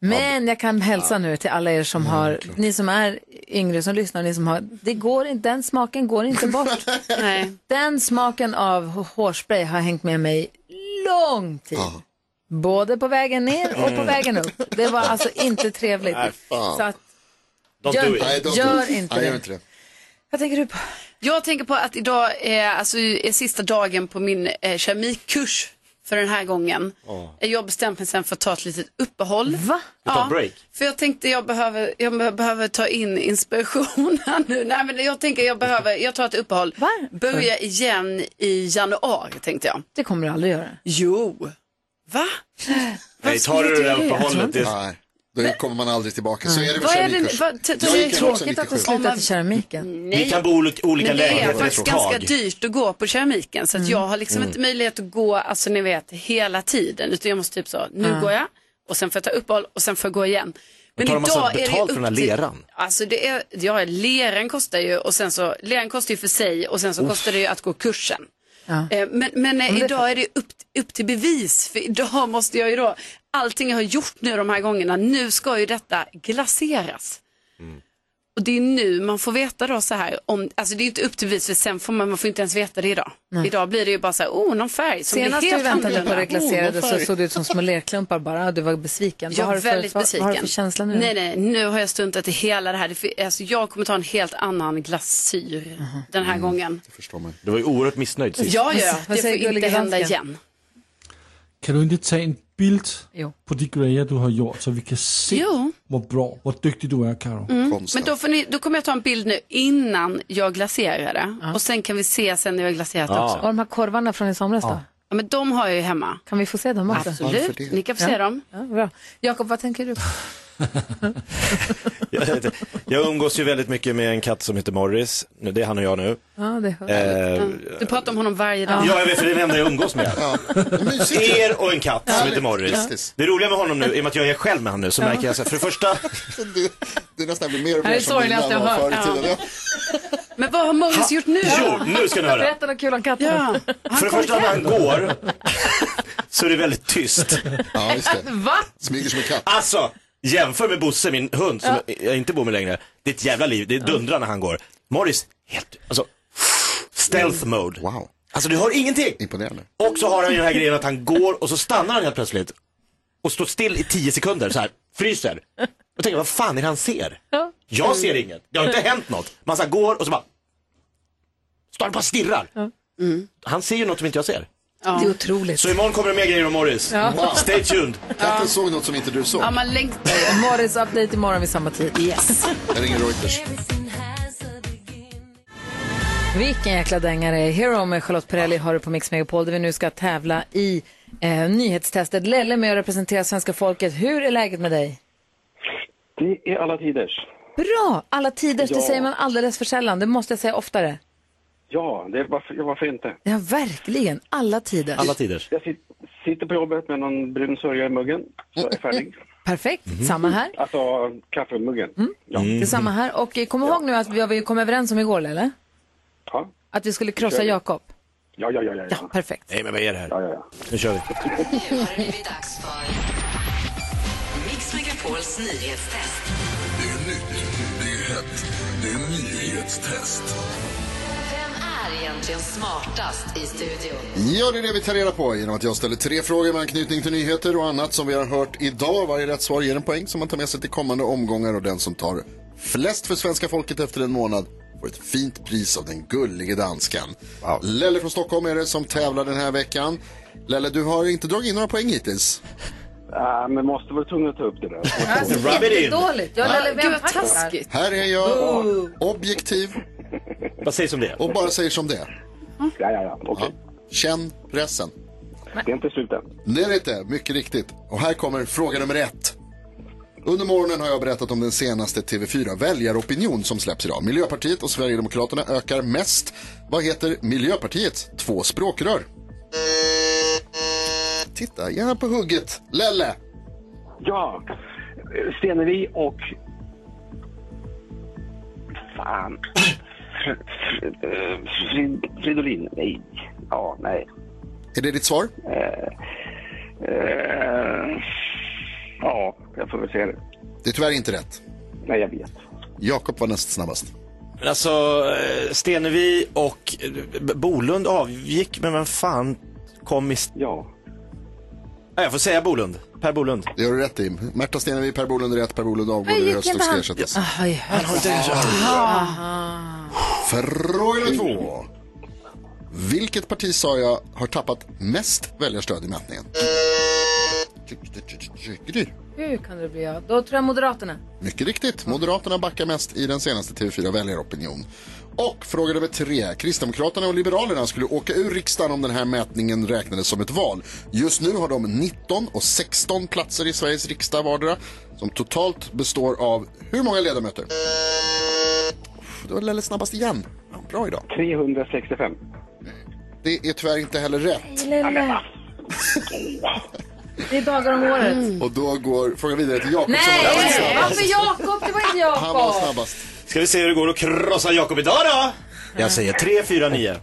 [SPEAKER 1] Men jag kan hälsa nu till alla er som har, ni som är yngre som lyssnar, ni som har, det går inte, den smaken går inte bort.
[SPEAKER 5] Nej.
[SPEAKER 1] Den smaken av h- hårspray har hängt med mig lång tid. Både på vägen ner och på
[SPEAKER 2] Mm.
[SPEAKER 1] vägen upp. Det var alltså inte trevligt.
[SPEAKER 2] Nej, fan.
[SPEAKER 1] Så att,
[SPEAKER 2] Don't
[SPEAKER 1] gör,
[SPEAKER 2] do it. Nej, don't do
[SPEAKER 1] gör
[SPEAKER 2] it.
[SPEAKER 1] inte
[SPEAKER 2] Nej,
[SPEAKER 1] det.
[SPEAKER 2] gör inte det.
[SPEAKER 1] Vad tänker du på?
[SPEAKER 5] Jag tänker på att idag är, alltså, är sista dagen på min eh, keramikkurs för den här gången. Eh,
[SPEAKER 2] Ja.
[SPEAKER 5] Jag har bestämt mig sen för att ta ett litet uppehåll.
[SPEAKER 1] Va?
[SPEAKER 2] Du tar break.
[SPEAKER 5] För jag tänkte jag behöver, jag be- behöver ta in inspiration här nu. Nej men jag tänker jag behöver, jag tar ett uppehåll. Börja igen i januari tänkte jag.
[SPEAKER 1] Det kommer du aldrig göra.
[SPEAKER 5] Jo. Va?
[SPEAKER 2] Nej, tar du det där på hållet? Det är...
[SPEAKER 3] Nej, då kommer man aldrig tillbaka. Så är det
[SPEAKER 5] Vad
[SPEAKER 3] med
[SPEAKER 5] är det-
[SPEAKER 3] keramikkurs.
[SPEAKER 5] vad- t-
[SPEAKER 3] Jag
[SPEAKER 5] tycker du
[SPEAKER 3] gick
[SPEAKER 5] det är
[SPEAKER 3] en också
[SPEAKER 5] tråkigt att det
[SPEAKER 3] 97.
[SPEAKER 5] slutar
[SPEAKER 1] Till keramiken.
[SPEAKER 5] Nej.
[SPEAKER 2] Vi kan bo i olika- olika
[SPEAKER 5] Men
[SPEAKER 2] lägenheter
[SPEAKER 5] Det är faktiskt
[SPEAKER 2] ett tag.
[SPEAKER 5] ganska dyrt att gå på keramiken så att jag har liksom
[SPEAKER 2] Mm.
[SPEAKER 5] inte möjlighet att gå, alltså ni vet, hela tiden. Utan jag måste typ så, nu
[SPEAKER 2] Ah.
[SPEAKER 5] går jag och sen får jag ta uppehåll och sen får jag gå igen.
[SPEAKER 2] Men tar de alltså
[SPEAKER 5] ju
[SPEAKER 2] betalt för den här
[SPEAKER 5] upp till-
[SPEAKER 2] leran?
[SPEAKER 5] Alltså det är, ja leran kostar ju och sen så, leran kostar ju för sig och sen så
[SPEAKER 2] Uff.
[SPEAKER 5] kostar det ju att gå kursen.
[SPEAKER 1] Ja.
[SPEAKER 5] Eh, Men, men eh,
[SPEAKER 1] Men det-
[SPEAKER 5] idag är det upp, upp till bevis för idag måste jag ju då, allting jag har gjort nu de här gångerna, nu ska ju detta glaseras. Och det är nu man får veta då så här, om, alltså det är ju inte upp till bevis för sen får man, man får inte ens veta det idag.
[SPEAKER 1] Nej.
[SPEAKER 5] Idag blir det ju bara så här, oh någon färg som
[SPEAKER 1] Senast
[SPEAKER 5] blir
[SPEAKER 1] du
[SPEAKER 5] helt
[SPEAKER 1] väntade på
[SPEAKER 5] annorlunda.
[SPEAKER 1] det glaserade
[SPEAKER 5] Oh,
[SPEAKER 1] så
[SPEAKER 5] någon
[SPEAKER 1] såg det ut som små lerklumpar bara. Du var besviken. vad
[SPEAKER 5] jag
[SPEAKER 1] har
[SPEAKER 5] är
[SPEAKER 1] du för,
[SPEAKER 5] väldigt
[SPEAKER 1] vad,
[SPEAKER 5] besviken.
[SPEAKER 1] Vad har du för känsla nu?
[SPEAKER 5] Nej, nej, nu har jag stuntat i hela det här. Det, fi- alltså, jag kommer ta en helt annan glasyr den här gången.
[SPEAKER 2] Du var ju oerhört missnöjd sist.
[SPEAKER 5] Ja, ja,
[SPEAKER 1] Mhm. Mm. Vad
[SPEAKER 5] det får
[SPEAKER 1] säger
[SPEAKER 5] inte
[SPEAKER 1] Gullige
[SPEAKER 5] hända
[SPEAKER 1] Dansken?
[SPEAKER 5] igen.
[SPEAKER 4] Kan du inte ta en bild
[SPEAKER 1] Jo.
[SPEAKER 4] på de grejer du har gjort så vi kan se
[SPEAKER 5] Jo.
[SPEAKER 4] hur bra, hur duktig du är Karo?
[SPEAKER 5] Mm. Men då, får ni, då kommer jag ta en bild nu innan jag glaserar det. Och sen kan vi se sen när jag har glaserat
[SPEAKER 1] Ja.
[SPEAKER 5] också.
[SPEAKER 1] Och de här korvarna från i somras då?
[SPEAKER 5] Ja, men de har jag ju hemma.
[SPEAKER 1] Kan vi få se dem också?
[SPEAKER 5] Absolut, Varför det? ni kan få se
[SPEAKER 1] Ja.
[SPEAKER 5] dem.
[SPEAKER 1] Ja, bra. Jakob, vad tänker du på?
[SPEAKER 2] Jag, vet inte. jag umgås ju väldigt mycket med en katt som heter Morris. Nu, Det är han och jag nu.
[SPEAKER 1] Ja, det hör.
[SPEAKER 2] Eh,
[SPEAKER 5] Du pratar om honom varje dag.
[SPEAKER 2] Ja, jag vet, för det är den enda jag umgås med. Er och en katt
[SPEAKER 5] Ja.
[SPEAKER 2] som heter Morris.
[SPEAKER 3] Fantastiskt.
[SPEAKER 2] Det roliga med honom nu, i och med att jag är själv med honom nu, så
[SPEAKER 3] Ja.
[SPEAKER 2] märker jag så här, för det första,
[SPEAKER 3] Det, det är nästan blir mer och
[SPEAKER 1] Det här är
[SPEAKER 3] mer som mina
[SPEAKER 1] sorgligaste jag
[SPEAKER 3] var
[SPEAKER 1] hört.
[SPEAKER 3] förr i tiden.
[SPEAKER 5] Men vad har Morris gjort nu?
[SPEAKER 2] Jo, nu ska ni höra.
[SPEAKER 1] Berätta något kul om katten.
[SPEAKER 5] Ja.
[SPEAKER 2] för det första när han går, så är det väldigt tyst.
[SPEAKER 3] Ja, just det.
[SPEAKER 1] Va?
[SPEAKER 3] Smyger som en katt.
[SPEAKER 2] Alltså, jämför med Bosse, min hund, som jag inte bor med längre. Det är ett jävla liv, det dundrar när han går. Morris, helt, alltså, stealth mode.
[SPEAKER 3] Wow.
[SPEAKER 2] Alltså du hör ingenting.
[SPEAKER 3] Imponerande.
[SPEAKER 2] Och så har han ju den här grejen att han går och så stannar han helt plötsligt. Och står still i tio sekunder så här, fryser. Och tänker, vad fan är det han ser? Jag ser inget, det har inte hänt något. Man så här går och så bara, står han bara och stirrar. Han ser ju något som inte jag ser.
[SPEAKER 5] Ja.
[SPEAKER 1] Det är otroligt.
[SPEAKER 2] Så imorgon kommer det mer grejer om Morris.
[SPEAKER 1] Ja.
[SPEAKER 2] Wow. Stay tuned.
[SPEAKER 3] Katten såg något som inte du såg.
[SPEAKER 5] Ja, man längtar ju.
[SPEAKER 1] Eh, Morris update imorgon vid samma tid. Yes.
[SPEAKER 3] Jag ringer Reuters.
[SPEAKER 1] Vilken jäkla dängare. Hero med Charlotte Perrelli har du på Mix Megapol där vi nu ska tävla i eh, nyhetstestet. Lelle med att representera svenska folket. Hur är läget med dig?
[SPEAKER 12] Det är alla tiders.
[SPEAKER 1] Bra! Alla tiders, det
[SPEAKER 12] Ja.
[SPEAKER 1] säger man alldeles för sällan. Det måste jag säga oftare.
[SPEAKER 12] Ja, det, varför, ja, varför inte?
[SPEAKER 1] Ja, verkligen. Alla tiders.
[SPEAKER 2] Alla tiders.
[SPEAKER 12] Jag sit, sitter på jobbet med någon brun sörja i muggen, så är jag färdig.
[SPEAKER 1] Perfekt. Samma här.
[SPEAKER 12] Alltså, kaffe i muggen.
[SPEAKER 10] Mm.
[SPEAKER 12] Ja.
[SPEAKER 3] Mm.
[SPEAKER 1] Det är samma här. Och eh, kom ihåg nu att vi, vi kom överens om igår, eller?
[SPEAKER 12] Ja.
[SPEAKER 1] Att vi skulle krossa
[SPEAKER 12] Kör vi.
[SPEAKER 1] Jakob.
[SPEAKER 12] Ja, ja, ja, ja, ja.
[SPEAKER 1] Perfekt.
[SPEAKER 2] Nej men vad är det här?
[SPEAKER 12] Ja, ja, ja.
[SPEAKER 2] Nu kör vi.
[SPEAKER 13] Nu har det blivit dags för Mix Megapols nyhetstest.
[SPEAKER 7] Det är nytt, det är hett, det är nyhetstest.
[SPEAKER 13] Vem är egentligen smartast i studion?
[SPEAKER 3] Ja, det är det vi tar reda på genom att jag ställer tre frågor med anknytning till nyheter och annat som vi har hört idag. Varje rätt svar ger en poäng som man tar med sig till kommande omgångar och den som tar flest för svenska folket efter en månad får ett fint pris av den gullige danskan. Lelle från Stockholm är det som tävlar den här veckan. Lelle, du har inte dragit in några poäng hittills.
[SPEAKER 12] Ah, men måste vara tvungen att ta upp det där.
[SPEAKER 2] Rub it in.
[SPEAKER 1] Dåligt. Jag
[SPEAKER 3] Nej.
[SPEAKER 1] Lelle, vem
[SPEAKER 5] Gud, vad
[SPEAKER 1] tackar?
[SPEAKER 5] taskigt.
[SPEAKER 3] Här är jag objektiv
[SPEAKER 2] Vad sägs om det?
[SPEAKER 3] Och bara säger som det är.
[SPEAKER 12] Ja, ja, ja. Okej.
[SPEAKER 3] Känn pressen.
[SPEAKER 12] Det är inte slut än.
[SPEAKER 3] Nej, det är inte. Mycket riktigt. Och här kommer fråga nummer ett. Under morgonen har jag berättat om den senaste TV4 väljaropinion som släpps idag. Miljöpartiet och Sverigedemokraterna ökar mest. Vad heter Miljöpartiets två språkrör? Titta, gärna på hugget. Lelle!
[SPEAKER 12] Ja, Stenevi och... Fan. Fr- fr- eh, Frid- Fridolin? Nej. Ja, nej.
[SPEAKER 3] Är det ditt svar?
[SPEAKER 12] Eh, ja, jag får väl säga det.
[SPEAKER 3] Det är tyvärr inte rätt.
[SPEAKER 12] Nej, jag vet.
[SPEAKER 3] Jakob var näst snabbast.
[SPEAKER 2] Men alltså, eh, Stenevi och eh, B- Bolund avgick, men vem fan kom i...
[SPEAKER 12] Ja.
[SPEAKER 2] Nej, jag får säga Bolund. Per Bolund.
[SPEAKER 3] Det gör du rätt i. Märta Stenevi, Per Bolund är rätt, Per Bolund avgår
[SPEAKER 2] Nej,
[SPEAKER 3] i
[SPEAKER 2] gick
[SPEAKER 3] höst och
[SPEAKER 2] inte
[SPEAKER 3] ska
[SPEAKER 2] han-
[SPEAKER 3] ersättas.
[SPEAKER 1] Ah, i höst.
[SPEAKER 3] Fråga två. Vilket parti sa jag har tappat mest väljarstöd i mätningen? Gry.
[SPEAKER 1] Hur kan det bli jag? Då tror jag Moderaterna.
[SPEAKER 3] Mycket riktigt, Moderaterna backar mest i den senaste TV4 väljaropinion. Och fråga nummer tre. Kristdemokraterna och Liberalerna skulle åka ur riksdagen om den här mätningen räknades som ett val. Just nu har de 19 och 16 platser i Sveriges riksdag vardera som totalt består av hur många ledamöter? Det var Lelle snabbast igen. Bra idag.
[SPEAKER 12] 365.
[SPEAKER 3] Det är tyvärr inte heller rätt.
[SPEAKER 1] Lille. Det är dagar om året.
[SPEAKER 3] Och då går frågan vidare till Jakob Mm. som
[SPEAKER 1] Nej,
[SPEAKER 3] var allra
[SPEAKER 1] varför
[SPEAKER 3] snabbast.
[SPEAKER 1] Jakob? Det var inte Jakob.
[SPEAKER 3] Han var snabbast.
[SPEAKER 2] Ska vi se hur det går att krossa Jakob idag då? Jag säger 349.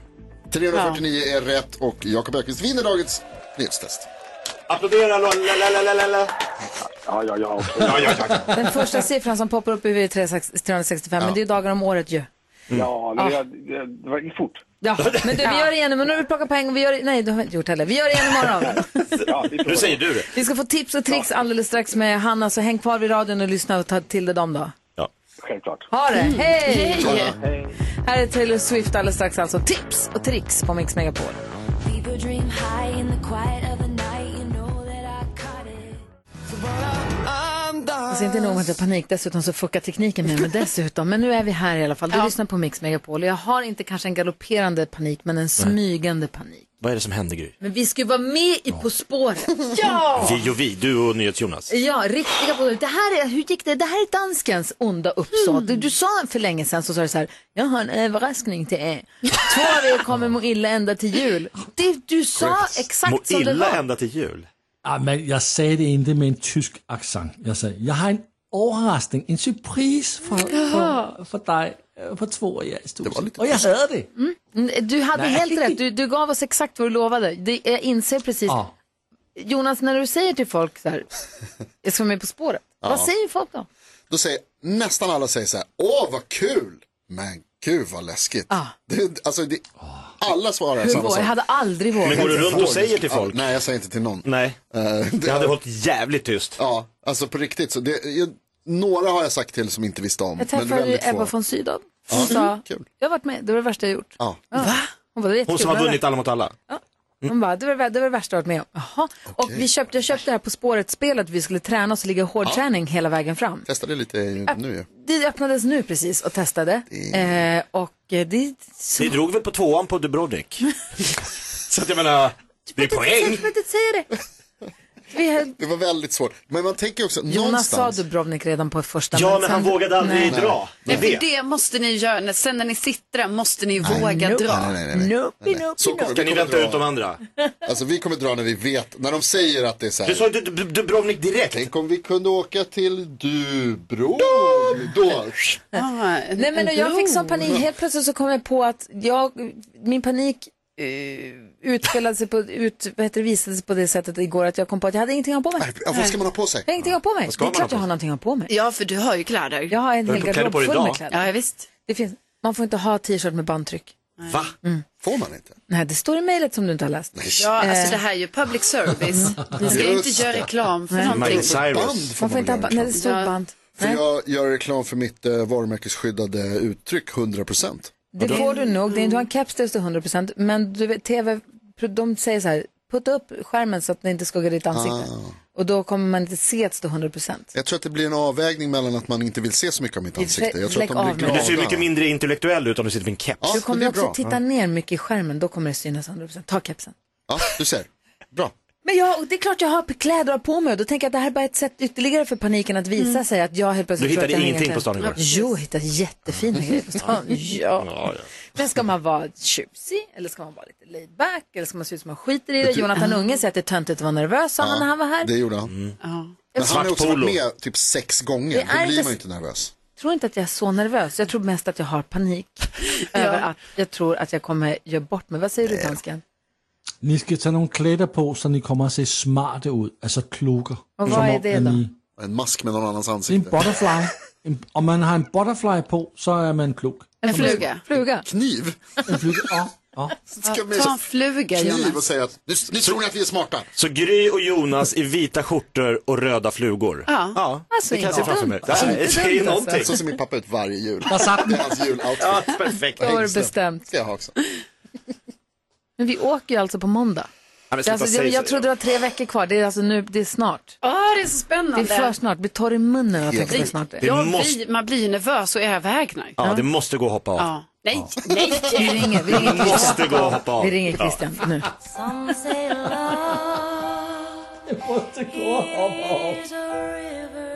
[SPEAKER 3] 349 är rätt och Jakob Öqvist vinner dagens nyhetstest.
[SPEAKER 2] Applådera lalalala.
[SPEAKER 12] Ja, ja, ja.
[SPEAKER 2] Ja, ja, ja.
[SPEAKER 1] Den första siffran som poppar upp i huvudet är 365, men det är ju dagar om året ju.
[SPEAKER 12] Ja, men jag, det, det var gick fort.
[SPEAKER 1] Ja, men du, vi gör det igen. Men nu har vi plockat poäng. Vi gör det, nej, det har vi inte gjort heller. Vi gör det igen imorgon.
[SPEAKER 2] Nu säger du det.
[SPEAKER 1] Vi ska få tips och tricks alldeles strax med Hanna, så häng kvar vid radion och lyssna och ta till dig dem då.
[SPEAKER 2] Ja.
[SPEAKER 12] Självklart.
[SPEAKER 1] Ha det! Mm. Hej!
[SPEAKER 12] Hej!
[SPEAKER 1] Här är Taylor Swift alldeles strax alltså. Tips och tricks på Mix Megapol.
[SPEAKER 11] People dream high in the quiet of the night. You know that I caught it. So what
[SPEAKER 1] Alltså inte nog med att jag har panik, dessutom så fuckar tekniken med mig dessutom. Men nu är vi här i alla fall. Du lyssnar på Mix Megapol och jag har inte kanske en galopperande panik, men en smygande panik.
[SPEAKER 2] Vad är det som händer Gry?
[SPEAKER 1] Men vi ska ju vara med i På spåret. Ja!
[SPEAKER 2] Vi och vi, du och NyhetsJonas.
[SPEAKER 1] Ja, riktiga på det här är, hur gick det? Det här är danskens onda uppsåt. Du, du sa för länge sedan så sa du så här, jag har en överraskning till er. Två av er kommer må illa ända till jul. Det, du sa exakt
[SPEAKER 2] Må
[SPEAKER 1] som det
[SPEAKER 2] illa
[SPEAKER 1] var.
[SPEAKER 2] ända till jul.
[SPEAKER 4] Ah, men jag sa det inte med en tysk accent. Jag sa, jag har en överraskning, en surprise för, för, för dig eh, på två år i studion. Och jag hade det.
[SPEAKER 1] Mm, Du hade
[SPEAKER 4] Nej.
[SPEAKER 1] helt rätt, du, du gav oss exakt vad du lovade. Det, jag inser precis.
[SPEAKER 4] Ja.
[SPEAKER 1] Jonas, när du säger till folk så här, jag ska vara med På spåret.
[SPEAKER 3] Ja.
[SPEAKER 1] Vad säger folk då?
[SPEAKER 3] Då säger nästan alla säger så här, åh vad kul, men gud vad läskigt. Det, alltså, det, alla svarar
[SPEAKER 1] Hur
[SPEAKER 3] samma
[SPEAKER 1] vågar?
[SPEAKER 3] sak.
[SPEAKER 1] Jag hade aldrig vågat.
[SPEAKER 2] Men går du runt och säger till
[SPEAKER 3] Ja,
[SPEAKER 2] folk?
[SPEAKER 3] nej, jag säger inte till någon.
[SPEAKER 2] Nej.
[SPEAKER 3] Jag
[SPEAKER 2] hade hållit jävligt tyst.
[SPEAKER 3] Ja, alltså på riktigt. Så det, jag, några har jag sagt till som inte visste om.
[SPEAKER 1] Jag
[SPEAKER 3] men
[SPEAKER 1] träffade
[SPEAKER 3] väldigt få.
[SPEAKER 1] Ebba von Sydow.
[SPEAKER 3] Ja.
[SPEAKER 1] Hon sa,
[SPEAKER 3] Mm, kul.
[SPEAKER 1] jag har varit med, det var det värsta jag gjort.
[SPEAKER 3] Ja.
[SPEAKER 1] Ja. Hon, bara, det var
[SPEAKER 2] Hon som har
[SPEAKER 1] jättekul,
[SPEAKER 2] vunnit Alla mot alla.
[SPEAKER 1] Hon Mm. bara, det var det, det, var det värsta jag varit med om. Jaha. Och vi köpte, jag köpte det här På spåret-spelet, vi skulle träna oss och ligga i hårdträning hela vägen fram.
[SPEAKER 3] Testade lite
[SPEAKER 1] Ja.
[SPEAKER 3] nu ju.
[SPEAKER 1] Det öppnades nu precis och testade. Eh, och eh, det...
[SPEAKER 2] Ni drog väl på tvåan på Dubrovnik? Så att jag menar, det är poäng.
[SPEAKER 1] Men inte säga det! Vi har-
[SPEAKER 3] Det var väldigt svårt. Men man tänker också
[SPEAKER 1] Jonas sa
[SPEAKER 3] någonstans.
[SPEAKER 1] Dubrovnik redan på första
[SPEAKER 3] Ja, men han vågade aldrig
[SPEAKER 1] Nej.
[SPEAKER 3] dra.
[SPEAKER 5] Nej,
[SPEAKER 3] Nej.
[SPEAKER 5] för det måste ni göra. När- Sen när ni sitter där måste ni våga
[SPEAKER 3] nope.
[SPEAKER 5] dra.
[SPEAKER 3] Nej, nej, nej, nej.
[SPEAKER 1] Nope,
[SPEAKER 3] Nej, nej.
[SPEAKER 1] nope,
[SPEAKER 3] Så kommer
[SPEAKER 1] nope.
[SPEAKER 3] vi
[SPEAKER 2] Ska ni
[SPEAKER 3] kommer
[SPEAKER 2] vänta
[SPEAKER 3] dra.
[SPEAKER 2] ut de andra?
[SPEAKER 3] Alltså vi kommer dra när vi vet, när de säger att det är så här.
[SPEAKER 2] Du sa inte Dub- Dubrovnik direkt.
[SPEAKER 3] Tänk om vi kunde åka till Dubro. Då.
[SPEAKER 1] Nej men och jag fick sån panik, helt plötsligt så kom jag på att jag, min panik eh, utspelade sig på, ut, vad heter det, visade sig på det sättet igår att jag kom på att jag hade ingenting att ha på mig.
[SPEAKER 3] Ja, vad ska man ha på sig?
[SPEAKER 1] Jag har ingenting att ha på mig.
[SPEAKER 3] Vad ska
[SPEAKER 1] Det är
[SPEAKER 3] man
[SPEAKER 1] klart
[SPEAKER 3] ha på
[SPEAKER 1] jag har
[SPEAKER 3] sig?
[SPEAKER 1] någonting att ha på mig.
[SPEAKER 5] Ja, för du har ju kläder.
[SPEAKER 1] Jag har en
[SPEAKER 5] Du har
[SPEAKER 1] hel
[SPEAKER 5] kläder
[SPEAKER 1] garderob
[SPEAKER 5] på dig
[SPEAKER 1] full med
[SPEAKER 5] idag.
[SPEAKER 1] kläder.
[SPEAKER 5] Ja, visst.
[SPEAKER 1] Det finns, man får inte ha t-shirt med bandtryck.
[SPEAKER 2] Va?
[SPEAKER 3] Får man inte?
[SPEAKER 1] Nej, det står i mejlet som du inte har läst.
[SPEAKER 5] Ja,
[SPEAKER 1] Eh,
[SPEAKER 5] alltså det här är ju public service. Ni ska ju inte göra reklam för
[SPEAKER 1] Nej.
[SPEAKER 5] någonting.
[SPEAKER 3] Band får
[SPEAKER 1] Man får
[SPEAKER 3] man
[SPEAKER 1] inte ha
[SPEAKER 3] väl
[SPEAKER 1] band.
[SPEAKER 3] göra
[SPEAKER 1] Nej, det står
[SPEAKER 5] Ja.
[SPEAKER 1] band.
[SPEAKER 3] För jag gör reklam för mitt eh, varumärkesskyddade uttryck 100%.
[SPEAKER 1] Det får du nog. Det är, du har en keps där det står 100 men du vet, tv, de säger så här, putta upp skärmen så att den inte skuggar ditt ansikte.
[SPEAKER 3] Ah.
[SPEAKER 1] Och då kommer man inte se att det står 100 procent.
[SPEAKER 3] Jag tror att det blir en avvägning mellan att man inte vill se så mycket av mitt
[SPEAKER 1] I och för sig,
[SPEAKER 3] ansikte. Jag tror att
[SPEAKER 1] lägg av
[SPEAKER 3] de
[SPEAKER 1] med
[SPEAKER 3] blir
[SPEAKER 1] det.
[SPEAKER 3] glada.
[SPEAKER 2] Du ser ju mycket mindre intellektuell ut om du sitter med en keps.
[SPEAKER 1] du kommer också titta ner mycket i skärmen, då kommer det synas 100 procent. Ta kepsen.
[SPEAKER 3] Ja, du ser. Bra.
[SPEAKER 1] Men jag, och det är klart jag har kläder att ha på mig och då tänker jag att det här är bara ett sätt ytterligare för paniken att visa sig att jag helt plötsligt
[SPEAKER 2] Du
[SPEAKER 1] tror att
[SPEAKER 2] hittade
[SPEAKER 1] jag har
[SPEAKER 2] ingenting
[SPEAKER 1] inga
[SPEAKER 2] på stan
[SPEAKER 1] kläder.
[SPEAKER 2] igår?
[SPEAKER 1] Jo, jag hittade jättefina grejer på stan. Ja. Men ska man vara tjusig eller ska man vara lite laid back eller ska man se ut som man skiter i det?
[SPEAKER 3] Vet du-
[SPEAKER 1] Jonathan Unge säger att det är töntigt att vara nervös sa han när han var här.
[SPEAKER 3] Det gjorde han.
[SPEAKER 2] Mm.
[SPEAKER 3] Men han har ju också varit med typ sex
[SPEAKER 1] Det
[SPEAKER 3] gånger.
[SPEAKER 1] är
[SPEAKER 3] Då blir
[SPEAKER 1] inte-
[SPEAKER 3] man ju inte nervös.
[SPEAKER 1] Jag tror inte att jag är så nervös. Jag tror mest att jag har panik över att jag tror att jag kommer göra bort mig. Vad säger du dansken?
[SPEAKER 4] Ni ska ta nogle klæder på, så ni kommer att se smarta ut, altså kloge.
[SPEAKER 1] Og hvor
[SPEAKER 4] Som
[SPEAKER 1] er
[SPEAKER 4] om,
[SPEAKER 1] det
[SPEAKER 4] at
[SPEAKER 1] da?
[SPEAKER 4] I-
[SPEAKER 3] En mask med någon annans
[SPEAKER 4] Det är en
[SPEAKER 3] ansikte.
[SPEAKER 4] butterfly. En, om man har en butterfly på, så är man klok.
[SPEAKER 5] En fluga.
[SPEAKER 1] Fluga.
[SPEAKER 3] Kniv?
[SPEAKER 4] En fluga, ja. ja.
[SPEAKER 5] Ta en fluga,
[SPEAKER 3] Kniv
[SPEAKER 5] Jonas.
[SPEAKER 3] och säga att nu, nu tror ni att vi är smarta.
[SPEAKER 2] Så Gry och Jonas i vita skjortor och röda flugor.
[SPEAKER 5] Ja.
[SPEAKER 2] det kan jag se framför mig. Det
[SPEAKER 3] Alltså,
[SPEAKER 2] här
[SPEAKER 3] inte
[SPEAKER 2] är- det är
[SPEAKER 3] dumt,
[SPEAKER 2] någonting.
[SPEAKER 3] alltså. Så ser min pappa ut varje jul.
[SPEAKER 1] Där satt den.
[SPEAKER 3] Det är hans juloutfit.
[SPEAKER 2] Ja, perfekt.
[SPEAKER 1] Då var det
[SPEAKER 3] Hängslen.
[SPEAKER 1] bestämt.
[SPEAKER 3] Ska jag ha också.
[SPEAKER 1] Men vi åker ju alltså på måndag.
[SPEAKER 3] men
[SPEAKER 1] Det är
[SPEAKER 3] sluta
[SPEAKER 1] alltså, jag,
[SPEAKER 3] säga
[SPEAKER 1] jag
[SPEAKER 3] så.
[SPEAKER 1] trodde det var tre veckor kvar. Det är alltså nu, det är snart.
[SPEAKER 5] Ja, det är så spännande.
[SPEAKER 1] Det är för snart. Vi tar i munnen när jag tänker på det snart.
[SPEAKER 2] Det
[SPEAKER 5] Ja,
[SPEAKER 2] måste-
[SPEAKER 5] vi, man blir ju nervös och övervägnar.
[SPEAKER 2] Ja, det måste gå att hoppa av.
[SPEAKER 5] Ja. Nej, nej.
[SPEAKER 1] Vi ringer, vi ringer
[SPEAKER 2] Det måste gå att hoppa av.
[SPEAKER 1] Vi ringer Christian nu.
[SPEAKER 11] Some say love is a river.